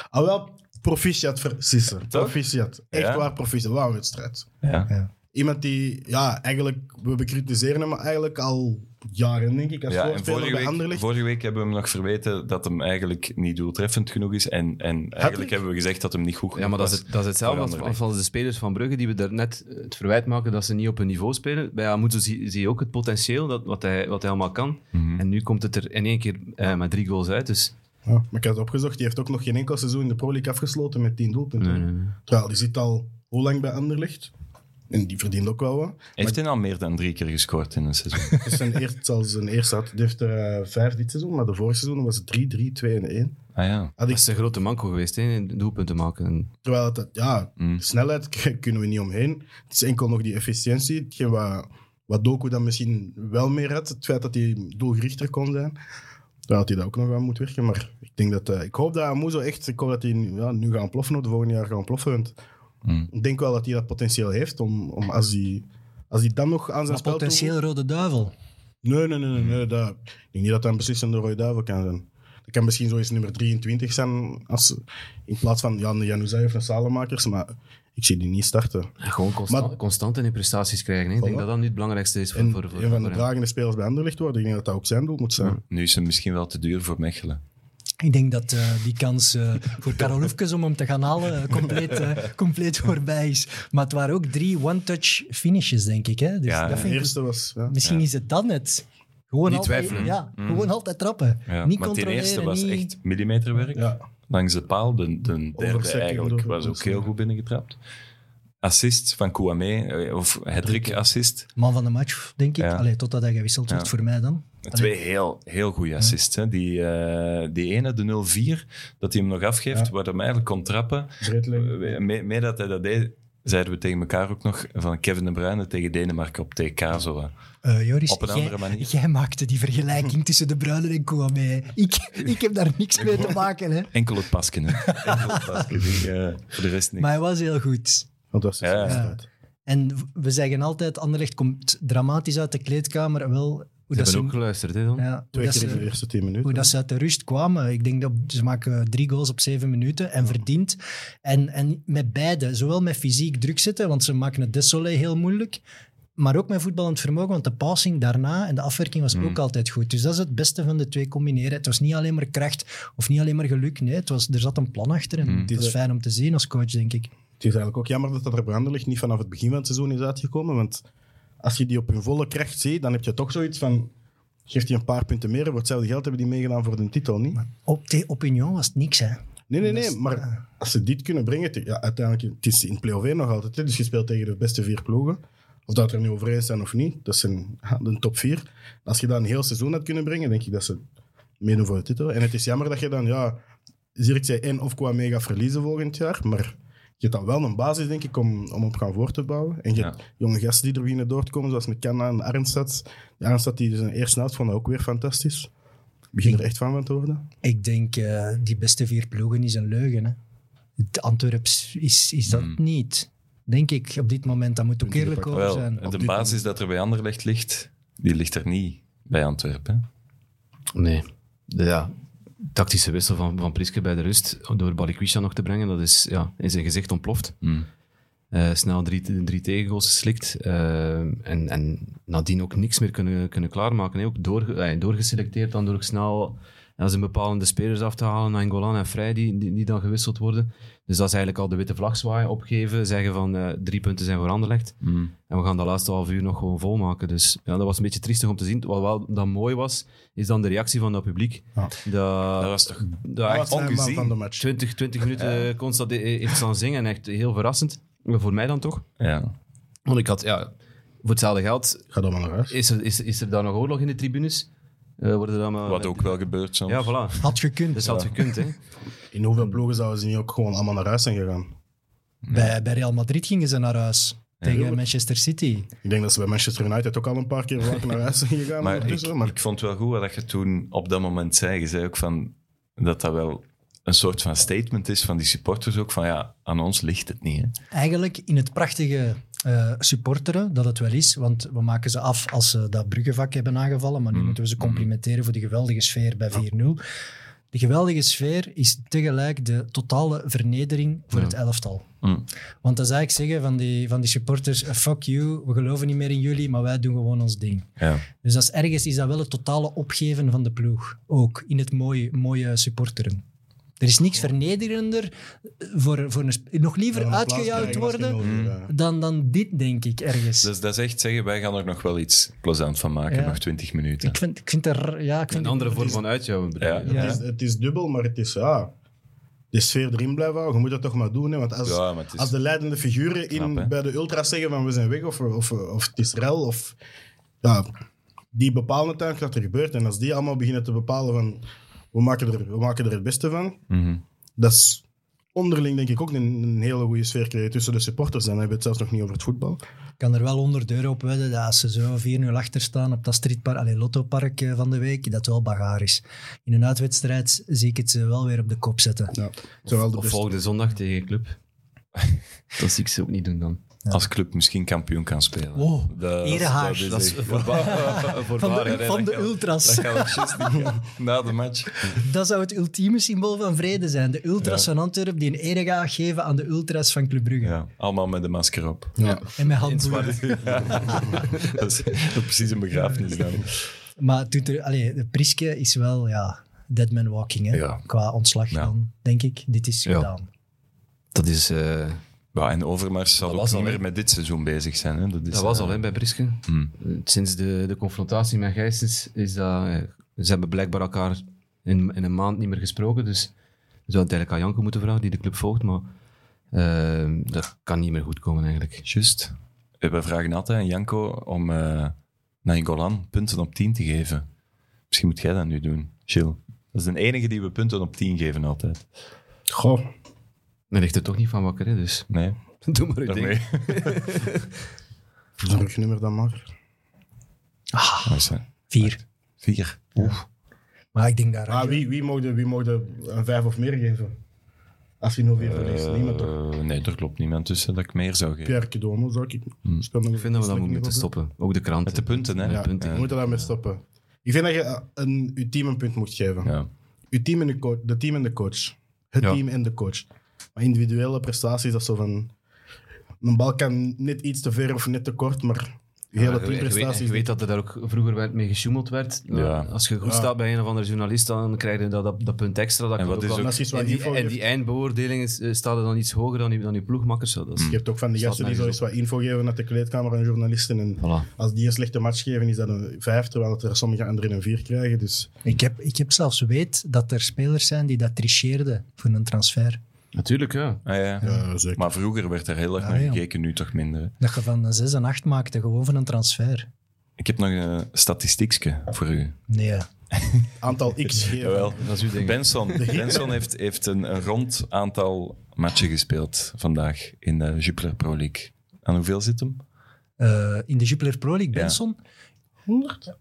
Ah, wel, proficiat voor Sisser. Proficiat. Echt Ja. waar, proficiat. Wauw, wedstrijd. Ja. Ja. Iemand die, ja, eigenlijk, we bekritiseren hem eigenlijk al jaren, denk ik, als Ja, en voorspeler bij vorige week, Anderlecht. vorige week hebben we hem nog verweten dat hem eigenlijk niet doeltreffend genoeg is. En, en eigenlijk hebben we gezegd dat hem niet goed genoeg Ja, maar dat is, was. het- dat is hetzelfde als, Verandering. als- als de spelers van Brugge die we daarnet eh, het verwijt maken dat ze niet op hun niveau spelen. Bij Amuzu zie, zie je ook het potentieel dat, wat, hij, wat hij allemaal kan. En nu komt het er in één keer eh, met drie goals uit. Dus Ja, maar ik had het opgezocht, die heeft ook nog geen enkel seizoen in de Pro League afgesloten met 10 doelpunten. nee, nee. Terwijl, die zit al hoe lang bij Anderlecht? En die verdient ook wel wat. Heeft hij al meer dan drie keer gescoord in een seizoen? Het is zijn eerst, zelfs zijn eerste had. Die heeft er eh, vijf dit seizoen, maar de vorige seizoen was het 3, 3, 2 en 1. Ah ja. Had dat ik is een grote manco geweest, hè, doelpunten maken. En Terwijl het, ja, snelheid kunnen we niet omheen. Het is enkel nog die efficiëntie. Hetgeen wat Wat Doku dan misschien wel meer had, het feit dat hij doelgerichter kon zijn, daar had hij dat ook nog aan moeten werken. Maar ik, denk dat, eh, ik hoop dat Amuzo echt, ik hoop dat hij nu- ja, nu gaat ploffen, of de volgende jaar gaat ploffen. Want Hmm. Ik denk wel dat hij dat potentieel heeft, om, om als, hij, als hij dan nog aan zijn Een spel potentieel rode duivel. Nee, nee, nee, nee. nee, dat, ik denk niet dat dat een beslissende rode duivel kan zijn. Dat kan misschien zoiets nummer 23 zijn, als, in plaats van Jan de Januzaj of een Salemakers, maar ik zie die niet starten. Ja, gewoon constant, Maar- constant in je prestaties krijgen. hè. Ik denk Voilà. dat dat nu het belangrijkste is voor, En voor, voor, een van de voor hem. dragende spelers bij Anderlecht worden, ik denk dat dat ook zijn doel moet zijn. Nu is het misschien wel te duur voor Mechelen. Ik denk dat eh, die kans eh, voor Karel Hoefkes om hem te gaan halen eh, compleet, eh, compleet voorbij is. Maar het waren ook drie one-touch finishes, denk ik. Hè? Dus Ja, dat De vind ik- eerste was... Ja. misschien is het dan het. Gewoon Niet altijd, twijfelen. Ja, Mm. gewoon altijd trappen. Ja, niet maar die controleren. eerste was niet- echt millimeterwerk. Ja. Langs de paal, de, de derde Overstekken eigenlijk, door- was ook heel overstekken. goed binnengetrapt. Assist van Kouame, eh, of Hedrick assist. Man van de match, denk ik. Ja. Allee, totdat hij gewisseld wordt voor mij dan. Twee heel, heel goede assists. Hè. Die, eh, die ene, de 0-4, dat hij hem nog afgeeft, Ja. waar hij hem eigenlijk kon trappen. Breedleggen. Eh, Mee, mee dat hij dat deed, zeiden we tegen elkaar ook nog van Kevin de Bruyne tegen Denemarken op TK. Zo. hè. Eh, Joris, Op een jij, andere manier. jij maakte die vergelijking tussen De Bruyne en Kouame. Ik, ik heb daar niks mee te maken. Hè. Enkel het pasken. hè. Enkel het pasken. die, eh, voor de rest niet. Maar hij was heel goed. Fantastisch. Ja. inderdaad. En v- we zeggen altijd, Anderlecht komt dramatisch uit de kleedkamer. Wel, hoe dat Ze hebben ze, ook geluisterd, hè, dan. ja, hoe Twee dat keer in de ze, eerste tien minuten. hoe dat ze uit de rust kwamen. Ik denk dat ze maken drie goals op zeven minuten en verdiend. En, en met beide, zowel met fysiek druk zetten, want ze maken het Desolé heel moeilijk. Maar ook met voetballend vermogen, want de passing daarna en de afwerking was ook altijd goed. Dus dat is het beste van de twee combineren. Het was niet alleen maar kracht of niet alleen maar geluk. Nee, het was, er zat een plan achter en het was fijn om te zien als coach, denk ik. Het is eigenlijk ook jammer dat dat er branderlicht niet vanaf het begin van het seizoen is uitgekomen. Want als je die op hun volle kracht ziet, dan heb je toch zoiets van... Geeft hij een paar punten meer, wordt hetzelfde geld hebben die meegedaan voor de titel, niet? Op de opinion was het niks, hè. Nee, nee, nee. Maar als ze dit kunnen brengen... te- Ja, uiteindelijk, het is in play-off één nog altijd. hè, dus je speelt tegen de beste vier ploegen. Of dat er nu over eens zijn of niet. Dat zijn ja, de top vier. Als je dat een heel seizoen had kunnen brengen, denk ik dat ze meedoen voor de titel. En het is jammer dat je dan, ja... Zirk zei één of qua mega verliezen volgend jaar, maar... Je hebt dan wel een basis, denk ik, om, om op gaan voor te bouwen. En je hebt Ja. jonge gasten die er beginnen door te komen, zoals McKenna en Arnstad. De Arnstad die zijn eerste helft vond dat ook weer fantastisch. Begin er echt van van te worden. Ik denk, eh, die beste vier ploegen is een leugen. Hè? Het Antwerps is, is dat niet. Denk ik op dit moment. Dat moet ook eerlijk over Wel, zijn. de basis dat er bij Anderlecht ligt, die ligt er niet bij Antwerpen. hè. Nee. De- ja, tactische wissel van, van Priske bij de rust door Balikwisha nog te brengen, dat is ja, in zijn gezicht ontploft. Hmm. Eh, snel drie, drie tegengoals geslikt. eh, en, en nadien ook niks meer kunnen, kunnen klaarmaken. hè. Ook door, eh, doorgeselecteerd, dan door snel als een bepalende spelers af te halen. Angolan en Vrij, die, die, die dan gewisseld worden. Dus dat is eigenlijk al de witte vlag zwaaien, opgeven. Zeggen van eh, drie punten zijn voor Anderlecht. En we gaan dat laatste half uur nog gewoon volmaken. Dus ja, dat was een beetje triestig om te zien. Wat wel dan mooi was, is dan de reactie van dat publiek. Ja. Dat, Dat was toch dat echt Wat zijn we ongezien. van de match? 20, 20 minuten eh, constant i- i- staan zingen. Echt heel verrassend. Voor mij dan toch. Ja. Want ik had, ja, voor hetzelfde geld Ga dan maar naar huis. is er, is, is er dan nog oorlog in de tribunes. Eh, worden er dan maar, Wat ook wel gebeurt soms. Ja, voilà. Had gekund. Dus had gekund, hè. In Hmm. hoeveel ploegen zouden ze niet ook gewoon allemaal naar huis zijn gegaan? bij, bij Real Madrid gingen ze naar huis. tegen tuurlijk. Manchester City. Ik denk dat ze bij Manchester United ook al een paar keer vaak naar huis zijn gegaan. Maar ik, ondertussen, maar ik vond het wel goed wat je toen op dat moment zei. Je zei ook van, dat dat wel een soort van statement is van die supporters ook. Van ja, aan ons ligt het niet. Hè. Eigenlijk in het prachtige eh, supporteren dat het wel is. Want we maken ze af als ze dat Bruggevak hebben aangevallen. Maar nu moeten we ze complimenteren voor de geweldige sfeer bij 4-0. De geweldige sfeer is tegelijk de totale vernedering voor het elftal. Mm. Want dat zou ik zeggen van die, van die supporters, eh, fuck you, we geloven niet meer in jullie, maar wij doen gewoon ons ding. Ja. Dus dat is ergens is dat wel het totale opgeven van de ploeg. Ook in het mooie, mooie supporteren. Er is niks vernederender eh, voor, voor een... sp- Nog liever dan een plaats uitgejuicht krijgen als je worden nul Hmm. weer, eh. dan, dan dit, denk ik, ergens. Dus dat is echt zeggen, wij gaan er nog wel iets plezant van maken. Ja. Nog 20 minuten. ik, vind, ik vind er... Ja, ik vind Een andere vorm van uitjouwen. bedoel Ja. je? Ja. Het, is, het is dubbel, maar het is ja. De sfeer erin blijven houden. Je moet dat toch maar doen. Hè? Want als, Ja, maar het is- als de leidende figuren in, Knap, hè? bij de ultras zeggen van we zijn weg of, of, of het is rel of ja, die bepalen het eigenlijk wat er gebeurt. En als die Mhm. allemaal beginnen te bepalen van we maken er, we maken er het beste van, dat is onderling denk ik ook een, een hele goede sfeer creëert tussen de supporters. En dan hebben we het zelfs nog niet over het voetbal. Ik kan er wel 100 euro op wedden dat als ze zo 4-0 achter staan op dat streetpark, allee, lottopark eh, van de week, dat wel bagaar is. In een uitwedstrijd zie ik het ze wel weer op de kop zetten. Ja, zowel de Of beste- volgende zondag tegen je club. dat zie ik ze ook niet doen dan. Als club misschien kampioen kan spelen. Wow, Dat- erehaar. Dat is, Dat is echt- Oh, Van de, Ja, nee, van dat de kan- ultras. Dat gaan we juist niet gaan. Na de match. Dat zou het ultieme symbool van vrede zijn. De ultras Ja. van Antwerpen die een ere gaan geven aan de ultras van Club Brugge. Ja, allemaal met de masker op. Ja. En met handboeien. Dat is, dat is precies een begrafenis dan. Maar het doet er, allee, de Priske is wel ja, dead man walking hè? Ja. qua ontslag Ja. dan, denk ik. Dit is Ja. gedaan. Dat, is, eh, Ja, en Overmars zal Dat ook was niet al, meer hè? met dit seizoen bezig zijn. Hè. Dat, is, dat was eh, al hè, bij Briske. hmm. Eh, Sinds de, de confrontatie met Gijsens is dat... eh, ze hebben blijkbaar elkaar in, in een maand niet meer gesproken, dus je zou het eigenlijk aan Janko moeten vragen, die de club volgt, maar eh, dat kan niet meer goed komen eigenlijk. Juist. Eh, We vragen altijd aan Janko om eh naar Golan punten op 10 te geven. Misschien moet jij dat nu doen, Chill. Dat is de enige die we punten op 10 geven altijd. Goh, Daar ligt het toch niet van wakker, hè, dus Nee, doe maar uw ding. daarmee. rugnummer dan maar. Dat is, eh, Vier. Vier. Oeh. Maar ik denk daar Ah, wie, wie mogen wie mocht er een vijf of meer geven? Als je 0-4 verliest. Niemand toch? Eh, nee, er klopt niemand tussen dat ik meer zou geven. Pierre Kedomo zou ik... Hmm. speel nog hm. Ik vind dat we dat een moeten niveau. stoppen. Ook de kranten. Met de punten, hè? Ja, punten. we moeten daarmee stoppen. Ik vind dat je eh, een, je team een punt moet geven. Ja. Je team en de, co- de team en de coach. Het Ja. team en de coach. Maar individuele prestaties, dat is zo van... Een bal kan net iets te ver of net te kort, maar je hele Ja, je- je weet- teamprestaties... Je weet dat er daar ook vroeger werd mee gesjoemeld werd. Nou, Ja. Als je goed Ja. staat bij een of andere journalist, dan krijg je dat, dat, dat punt extra. En Dat kan wat ook is wel- ook- dat is iets wat en, die, info en geeft. die eindbeoordeling is, eh, staat er dan iets hoger dan je, dan je ploegmakkers. Zo, Dat is, Je hebt ook van die Staat gasten die zo eens nergens wat info geven naar de kleedkamer aan journalisten. En Voilà. als die een slechte match geven, is dat een vijf, terwijl het er sommige anderen een vier krijgen. Dus Ik heb, ik heb zelfs weet dat er spelers zijn die dat tricheerden voor een transfer. Natuurlijk, ja. Ah, ja. eh, zeker. Maar vroeger werd er heel erg Ja, naar ja. gekeken, nu toch minder. Dat je van een 6 en 8 maakte gewoon voor een transfer. Ik heb nog een statistiekje voor u. Nee. Aantal X geven. Jawel. Dat is uw ding. Benson, Benson heeft, heeft een, een rond aantal matchen gespeeld vandaag in de Jupiler Pro League. Aan hoeveel zit hem? Eh, in de Jupiler Pro League, Ja. Benson? 100?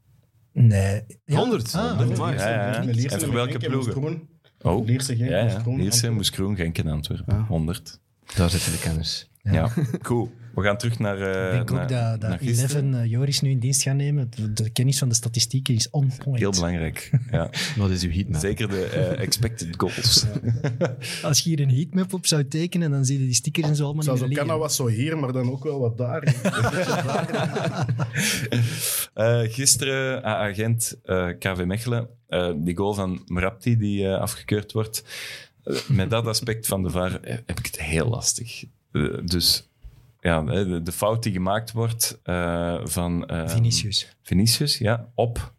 Nee. Ja. 100? Ah, Honderd. Oh, Leerse, Ja, ja. Leerse, En voor Genk, welke Moes ploegen? Groen. Oh, Lierse, Genk, ja, Moes ja. Groen. Lierse, Moes Groen, Genk en Antwerpen. Ja. 100. Daar zitten de kenners. Ja. cool. We gaan terug naar, eh Ik denk naar, ook dat, naar dat gisteren. 11 eh, Joris nu in dienst gaat nemen. De, de kennis van de statistieken is on point. Heel belangrijk. Ja. Wat is uw heatmap? Zeker de eh, expected goals. Als je hier een heatmap op zou tekenen, dan zie je die stickers en zo allemaal Zelfs niet meer Okana liggen. was zo hier, maar dan ook wel wat daar. Eh, gisteren agent KV Mechelen. eh, die goal van Mrapti die eh, afgekeurd wordt. Eh, met dat aspect van de VAR eh, heb ik het heel lastig. Eh, dus ja, hè, de, de fout die gemaakt wordt eh, van... eh, Vinicius. Vinicius, ja, op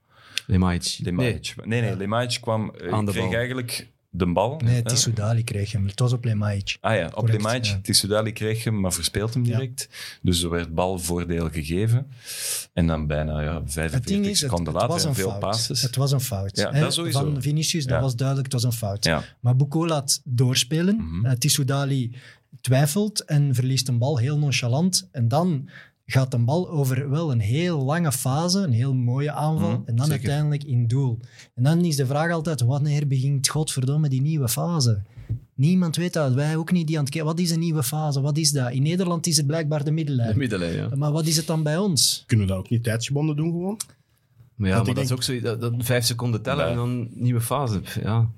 Lemaic. Lemaic. Nee, nee, Lemaic kwam... eh, Aan de kreeg bal. eigenlijk de bal. Nee, hè. Tissoudali kreeg hem. Het was op Lemaic. Ah ja, op Correct, Lemaic. ja. Tissoudali kreeg hem, maar verspeelt hem direct. Dus er werd balvoordeel gegeven. En dan bijna ja, Het 45 ding is, het, seconden het later was en een veel fout. passes. Het was een fout. Ja, hè. dat sowieso. Van Vinicius, dat Ja. was duidelijk, het was een fout. Ja. Maar Boucault laat doorspelen. Mhm. Eh, Tissoudali twijfelt en verliest een bal heel nonchalant. En dan gaat een bal over wel een heel lange fase, een heel mooie aanval. Mhm, en dan zeker. uiteindelijk in doel. En dan is de vraag altijd, wanneer begint godverdomme die nieuwe fase? Niemand weet dat. Wij ook niet. Die aan het kijken- Wat is een nieuwe fase? Wat is dat? In Nederland is het blijkbaar de De middenlijn. middenlijn, ja. Maar wat is het dan bij ons? Kunnen we dat ook niet tijdsgebonden doen gewoon? Maar ja, Dat maar ik dat is denk- ook zo. Dat, dat vijf seconden tellen Nee. en dan nieuwe fase. Pff, Ja.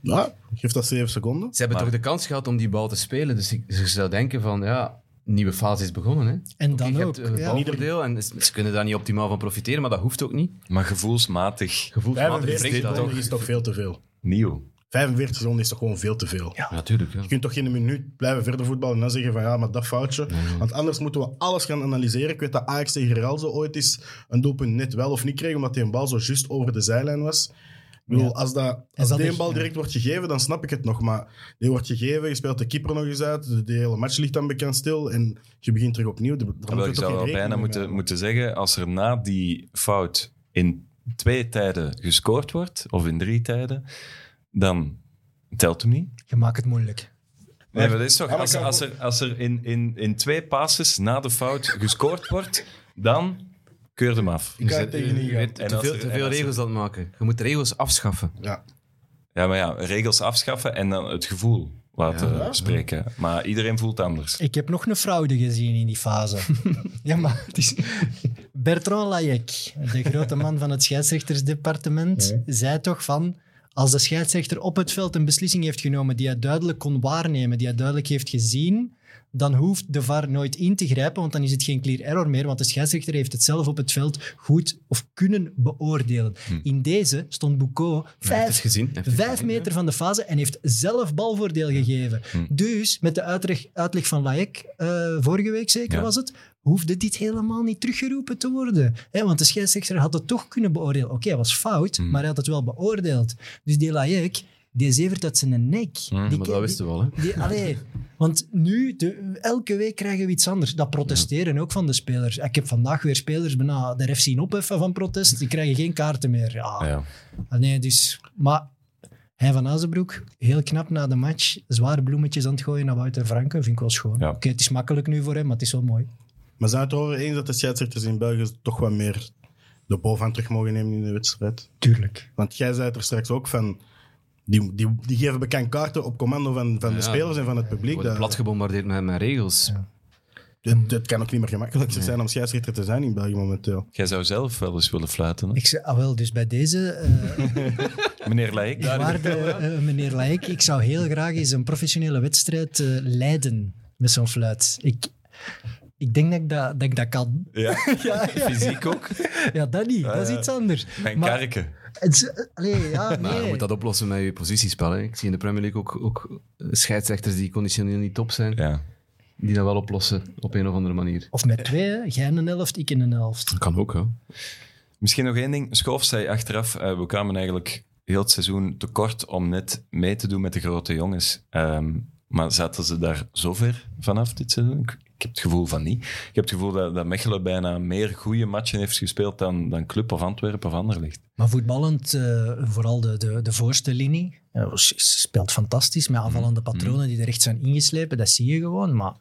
Ja, geef dat zeven seconden. Ze hebben Maar- toch de kans gehad om die bal te spelen. Dus ik, dus je zou denken van, ja, nieuwe fase is begonnen. Hè? En Oké, dan je ook. hebt, eh, ja. balvoordeel en ze ze kunnen daar niet optimaal van profiteren, maar dat hoeft ook niet. Maar gevoelsmatig Gevoelsmatig is 45 dit dat seconden toch. is toch veel te veel? nieuw. 45 seconden is toch gewoon veel te veel? Ja, natuurlijk. Ja. Je kunt toch geen minuut blijven verder voetballen en dan zeggen van ja, maar dat foutje. Want anders moeten we alles gaan analyseren. Ik weet dat Ajax tegen Real zo ooit is een doelpunt net wel of niet kreeg, omdat die een bal zo just over de zijlijn was. Ik bedoel, Ja. als, dat, als dat die echt- een bal ja. direct wordt gegeven, dan snap ik het nog. Maar die wordt gegeven, je speelt de keeper nog eens uit, de, de hele match ligt dan bekend stil en je begint terug opnieuw. Daar moeten Terwijl we je toch zou geen wel rekening bijna mee moeten, houden. moeten zeggen, als er na die fout in twee tijden gescoord wordt, of in drie tijden, dan telt hem niet. Je maakt het moeilijk. Nee, maar dat is toch... maar Als, kan- als er, als er in, in, in twee passes na de fout gescoord wordt, dan keur hem af. Ik kan het tegen niet gaan. En te als veel, er- te en veel als er- regels dat maken. Je moet regels afschaffen. Ja. Ja, maar ja, regels afschaffen en dan het gevoel laten spreken. Maar iedereen voelt anders. Ik heb nog een fraude gezien in die fase. ja, maar het is... Bertrand Layek, de grote man van het scheidsrechtersdepartement, zei toch van... Als de scheidsrechter op het veld een beslissing heeft genomen die hij duidelijk kon waarnemen, die hij duidelijk heeft gezien, dan hoeft de VAR nooit in te grijpen, want dan is het geen clear error meer, want de scheidsrechter heeft het zelf op het veld goed of kunnen beoordelen. In deze stond Boucault Hm. Hij heeft vijf het gezien. Hij heeft het Vijf gezien, meter van de fase en heeft zelf balvoordeel gegeven. Hm. Dus, met de uitleg, uitleg van Laek, eh, vorige week zeker Ja. was het, hoefde dit helemaal niet teruggeroepen te worden. Hè, want de scheidsrechter had het toch kunnen beoordelen. Oké, hij was fout, Hm. maar hij had het wel beoordeeld. Dus die Laek, die zevert uit zijn nek. hè. die, Hm, Maar dat wisten we al, hè. die, allee, want nu, de- elke week krijgen we iets anders. Dat protesteren ook van de spelers. Ik heb vandaag weer spelers bijna de ref zien opheffen van protest. Die krijgen geen kaarten meer. Ja. Ja. Ah, Nee, dus... Maar hij van Azenbroek, heel knap na de match, zware bloemetjes aan het gooien naar Wouter Franken, vind ik wel schoon. Ja. Oké, het is makkelijk nu voor hem, maar het is wel mooi. Maar zijn we het erover eens dat de scheidsrechters in België toch wat meer de bovenhand terug mogen nemen in de wedstrijd? Tuurlijk. Want jij zei het er straks ook van... Die, die, die geven bekend kaarten op commando van, van de Ja. spelers en van het We publiek. worden Dat, plat gebombardeerd met, met regels. het, het kan ook niet meer gemakkelijker zijn om scheidsrechter te zijn in België momenteel. Jij zou zelf wel eens willen fluiten. hè? Ik zei, ah wel, dus bij deze, eh Meneer Leijk, waarde eh, meneer Laik, ik zou heel graag eens een professionele wedstrijd eh, leiden met zo'n fluit. Ik, ik denk dat ik dat, dat ik dat kan. Ja. Ja, ja, fysiek ook. ja, dat niet. dat is ja. iets anders. Mijn Maar- karken. Het is- eh, allee, ja, Eh. Maar je nee. moet dat oplossen met je positiespel. Hè. Ik zie in de Premier League ook, ook eh, scheidsrechters die conditioneel niet top zijn, Ja. die dat wel oplossen op een of andere manier. Of met twee, hè. jij een helft, ik in een helft. Dat kan ook, hè. Misschien nog één ding. Schoof zei achteraf, eh, we kwamen eigenlijk heel het seizoen tekort om net mee te doen met de grote jongens. Ehm, maar zaten ze daar zover vanaf dit seizoen? Ik, ik heb het gevoel van niet. Ik heb het gevoel dat, dat Mechelen bijna meer goede matchen heeft gespeeld dan, dan Club of Antwerpen of Anderlecht. Maar voetballend, eh, vooral de, de, de voorste linie, eh, was- speelt fantastisch. Met aanvallende patronen die er echt zijn ingeslepen, dat zie je gewoon. Maar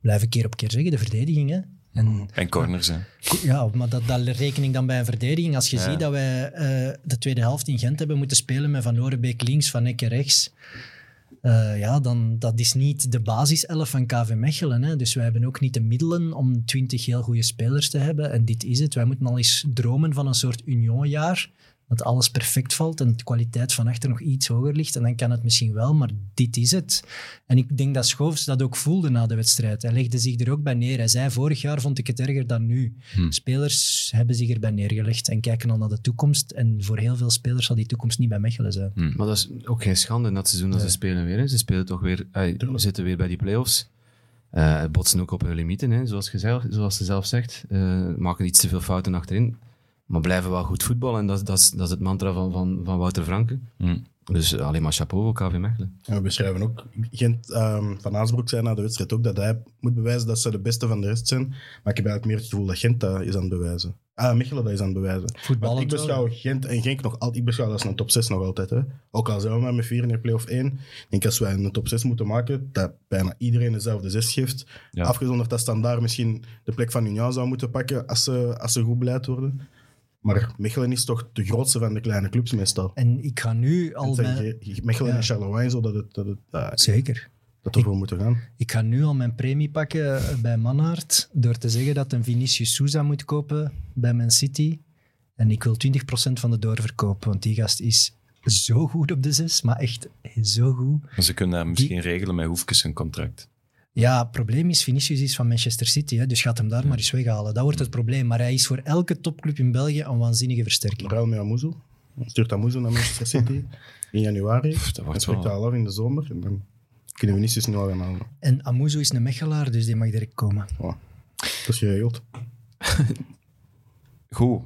blijf ik keer op keer zeggen, de verdediging. Hè? En, En corners, hè. ja, maar dat, dat reken ik dan bij een verdediging. Als je ziet dat wij eh, de tweede helft in Gent hebben moeten spelen met Van Orenbeek links, Van Ecke rechts. eh, ja, dan, dat is niet de basiself van KV Mechelen. Hè? Dus wij hebben ook niet de middelen om twintig heel goede spelers te hebben. En dit is het. Wij moeten al eens dromen van een soort unionjaar. Dat alles perfect valt en de kwaliteit van achter nog iets hoger ligt. En dan kan het misschien wel, maar dit is het. En ik denk dat Schoofs dat ook voelde na de wedstrijd. Hij legde zich er ook bij neer. Hij zei, vorig jaar vond ik het erger dan nu. Spelers hebben zich erbij neergelegd en kijken al naar de toekomst. En voor heel veel spelers zal die toekomst niet bij Mechelen zijn. Maar dat is ook geen schande in dat seizoen dat ze spelen weer. Hè. Ze spelen toch weer, ai, zitten weer bij die play-offs. Eh, botsen ook op hun limieten, hè, zoals, je zelf, zoals ze zelf zegt. Eh, maken iets te veel fouten achterin. Maar blijven wel goed voetballen. En dat, is- dat, is, dat is het mantra van, van, van Wouter Franken. Hmm. Dus eh, alleen maar chapeau voor KV Mechelen. En we beschrijven ook... Gent, ehm, van Aasbroek zei na de wedstrijd ook dat hij moet bewijzen dat ze de beste van de rest zijn. Maar ik heb eigenlijk meer het gevoel dat Gent dat is aan het bewijzen. Ah, Mechelen dat is aan het bewijzen. Want Voetballend ik beschouw Gent en Genk nog altijd... Ik beschouw dat als een top 6 nog altijd. Hè. Ook al zijn we maar met 4 in de play-off 1. Ik denk als wij een top 6 moeten maken, dat bijna iedereen dezelfde 6 geeft. Ja. Afgezonderd dat Standaard misschien de plek van Union zou moeten pakken als ze, als ze goed beleid worden. Maar Mechelen is toch de grootste van de kleine clubs meestal. En ik ga nu al... Het zijn Mijn... Ge- Mechelen Ja. en Charleroi, en zo dat het, dat het, ah, Zeker. dat ervoor moeten gaan. Ik ga nu al mijn premie pakken eh, bij Manhart door te zeggen dat een Vinicius Souza moet kopen bij Man City. En ik wil 20% van de doorverkoop, want die gast is zo goed op de zes, maar echt zo goed. Maar Ze kunnen daar misschien regelen met Hoefkes een contract. Ja, het probleem is, Vinicius is van Manchester City, hè, dus gaat hem daar maar eens weghalen. Dat wordt het probleem, maar hij is voor elke topclub in België een waanzinnige versterking. Ruil met Amuzu. Stuurt Amuzu naar Manchester City in januari. dat wordt Dan spreekt wel- hij al af in de zomer. En dan kunnen we niet nu al gaan halen. En Amuzo is een mechelaar, dus die mag direct komen. Voilà. Dat is geregeld. Goed.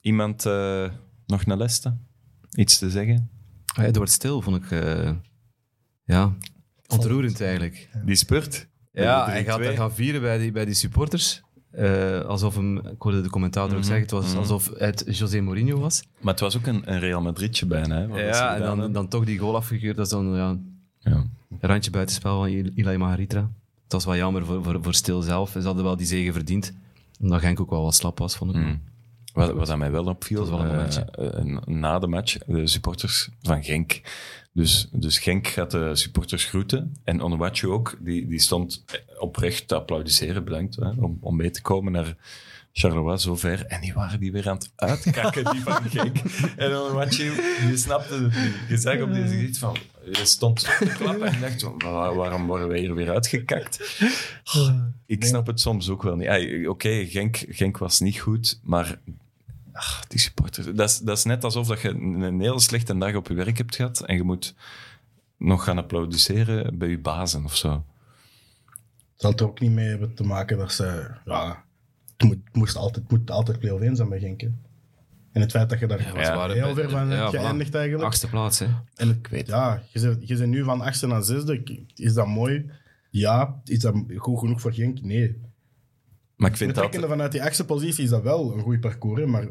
Iemand eh, nog naar Leicester? Iets te zeggen? Ah, ja, het wordt stil, vond ik. eh, ja, ontroerend eigenlijk. Die spurt. Ja, Drie, hij gaat, twee. hij gaat vieren bij die, bij die supporters. Eh, alsof hem, ik hoorde de commentator ook zeggen, het was alsof het José Mourinho was. Maar het was ook een, een Real Madridje bijna. Hè, wat ze Ja, en gedaan dan, hebben. dan toch die goal afgekeurd, dat is dan ja, Ja. Randje buitenspel van Il- Ilai Maharitra. Het was wel jammer voor, voor, voor Stil zelf. Ze hadden wel die zege verdiend. Omdat Genk ook wel wat slap was, vond ik. Wat, wat aan mij wel opviel, Dat was wel een eh, momentje. eh, na de match, de supporters van Genk. Dus, dus Genk gaat de supporters groeten. En Onuwachu ook, die, die stond oprecht te applaudisseren, bedankt, hè, om, om mee te komen naar Charleroi zover. En die waren die weer aan het uitkakken, die van Genk. En Onuwachu, die snapte het niet. Je zag op Eh. die gezicht van, je stond zo te klappen en dacht, van, "Waar- waarom worden wij hier weer uitgekakt? Oh, Ik snap het soms ook wel niet. Ah, Oké, Genk, Genk was niet goed, maar ach, die supporters... Dat is, dat is net alsof dat je een een hele slechte dag op je werk hebt gehad en je moet nog gaan applaudisseren bij je bazen of zo. zal het er ook niet mee hebben te maken dat ze... Ja, het, moet, het moest altijd, het moet altijd play-off 1 zijn bij Genk. hè. En het feit dat je daar Ja, ze waren heel bij- ver van ja, hebt voilà. geëindigd eigenlijk. Achtste plaats, hè. En ik weet, ja, je zit, je zit nu van achtste naar zesde. K- Is dat mooi? Ja. Is dat goed genoeg voor Genk? Nee. Maar ik vind dat... Betrekkende vanuit die achtste positie is dat wel een goed parcours, hè, maar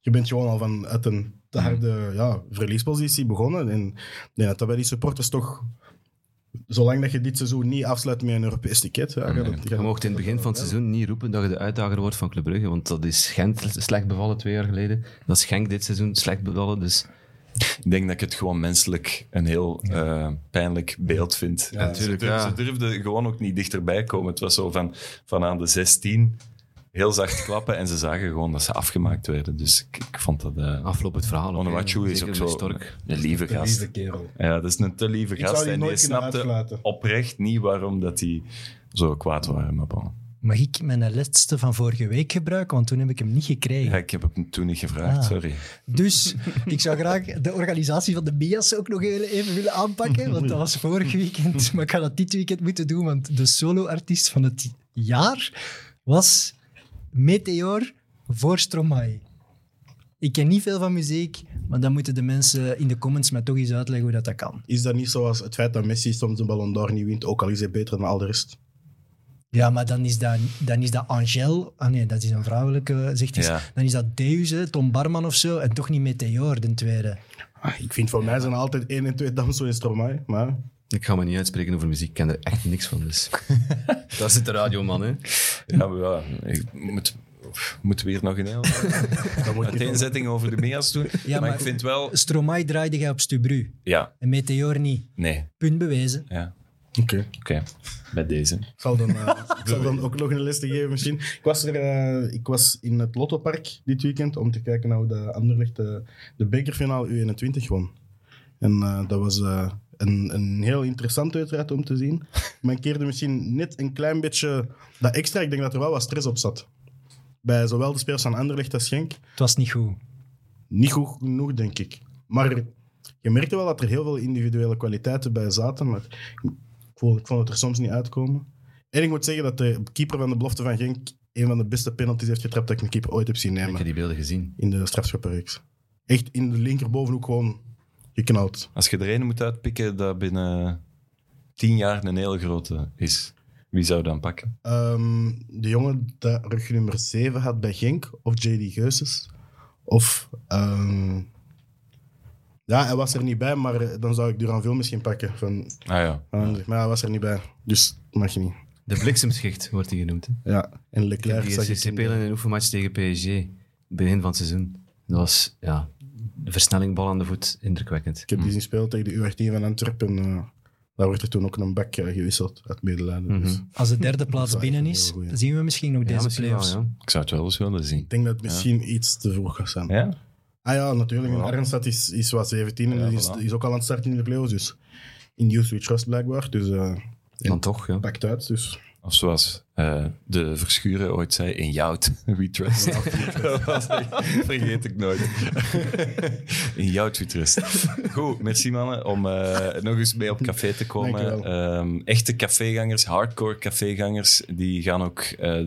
je bent gewoon al vanuit een te Hmm. harde ja, verliespositie begonnen. En ik denk dat dat bij die supporters toch... Zolang dat je dit seizoen niet afsluit met een Europees ticket... Ja, gaat het, Hmm. Je gaat mocht in het begin van het seizoen niet roepen dat je de uitdager wordt van Club Brugge, want dat is Gent slecht bevallen twee jaar geleden. Dat is Genk dit seizoen slecht bevallen, dus Ik denk dat ik het gewoon menselijk een heel eh, pijnlijk beeld vind. Ja, natuurlijk, Ze, durf- ja. ze durfden gewoon ook niet dichterbij komen. Het was zo van, van aan de 16 heel zacht klappen en ze zagen gewoon dat ze afgemaakt werden. Dus ik, ik vond dat... eh afloop het verhaal. Onuwachu is ook zo Stork. een lieve De gast. lieve kerel. Ja, dat is een te lieve Ik gast. zou die En die nooit kunnen snapte uitlaten. oprecht niet waarom dat die zo kwaad waren. Maar bon. Mag ik mijn laatste van vorige week gebruiken? Want toen heb ik hem niet gekregen. ja, ik heb hem toen niet gevraagd, Ah. sorry. Dus ik zou graag de organisatie van de Bias ook nog heel even willen aanpakken. Want dat was vorig weekend. Maar ik ga dat dit weekend moeten doen. Want de solo-artiest van het jaar was Meteor voor Stromae. Ik ken niet veel van muziek. Maar dan moeten de mensen in de comments mij toch eens uitleggen hoe dat, dat kan. Is dat niet zoals het feit dat Messi soms een Ballon d'Or niet wint, ook al is hij beter dan al de rest? Ja, maar dan is dat, dan is dat Angel. Ah nee, dat is een vrouwelijke, zegt hij. Ja. Dan is dat Deus, hè, Tom Barman of zo. En toch niet Meteor, de tweede. Ah, Ik vind voor mij zijn er altijd 1 en 2 Damso en Stromae, maar... Ik ga me niet uitspreken over muziek, ik ken er echt niks van, dus... Daar zit de radioman, hè. Ja, maar ja, ik moet, moeten we hier nog een hele Dat moet niet uiteenzetting over de mega's doen? maar, maar- ik vind wel... Stromae draaide jij op Stubru. Ja, En Meteor niet. nee. Punt bewezen. Ja, Oké. oké. Met deze. Ik zal dan, eh, ik zal dan ook nog een les te geven misschien. Ik was, er, eh, ik was in het Lottopark dit weekend om te kijken naar hoe de Anderlecht eh, de bekerfinale U21 won. En eh, dat was eh, een, een heel interessante uiteraard om te zien. Maar ik keerde misschien net een klein beetje dat extra. Ik denk dat er wel wat stress op zat. Bij zowel de spelers van Anderlecht als Genk. Het was niet goed. niet goed genoeg, denk ik. Maar je merkte wel dat er heel veel individuele kwaliteiten bij zaten, maar ik vond, ik vond het er soms niet uitkomen. En ik moet zeggen dat de keeper van de belofte van Genk een van de beste penalties heeft getrapt dat ik een keeper ooit heb zien Ik heb nemen die beelden gezien. in de strafschoppenreeks. Echt in de linkerbovenhoek gewoon geknald. Als je er een moet uitpikken dat binnen tien jaar een hele grote is, wie zou dan pakken? Ehm, de jongen die rug nummer 7 had bij Genk, of JD Geuses. Of... ehm, ja, hij was er niet bij, maar eh, dan zou ik Duranville misschien pakken. Van Ah ja. Anderlecht. Maar hij was er niet bij, dus mag je niet. De bliksemschicht wordt die genoemd, hè. Ja, en Ik heb Leclerc die zag gezien ik in eh, de- spelen in een oefenmatch tegen PSG, begin van het seizoen. Dat was, ja, de versnelling, bal aan de voet, indrukwekkend. Ik heb die zien spelen tegen de U18 van Antwerpen. eh, daar werd er toen ook een bak eh, gewisseld uit medelijden. dus. Als de derde plaats Dat is binnen echt een is, heel goeie. zien we misschien nog deze misschien playoffs. wel, ja. Ik zou het wel eens willen zien. Ik denk dat het misschien iets te vroeg gaat zijn. Ja? Ah ja, natuurlijk. Ja. En Ernstad is, is wat 17 en Ja, die is, voilà. die is ook al aan het starten in de playoffs. Dus in Youth We Trust blijkbaar. Dus eh Dan toch, ja. pakt uit. Dus. Of zoals eh, de Verschuren ooit zei, in Jout, we trust. Dat was echt- vergeet ik nooit. in Jout, we trust. Goed, merci mannen om eh, nog eens mee op café te komen. Ehm, echte cafégangers, hardcore cafégangers, die gaan ook eh,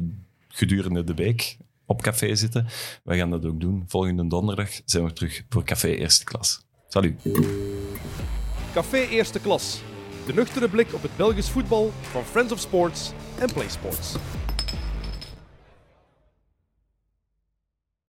gedurende de week op café zitten. Wij gaan dat ook doen. Volgende donderdag zijn we terug voor Café Eerste Klas. Salut. Café Eerste Klas. De nuchtere blik op het Belgisch voetbal van Friends of Sports en Play Sports.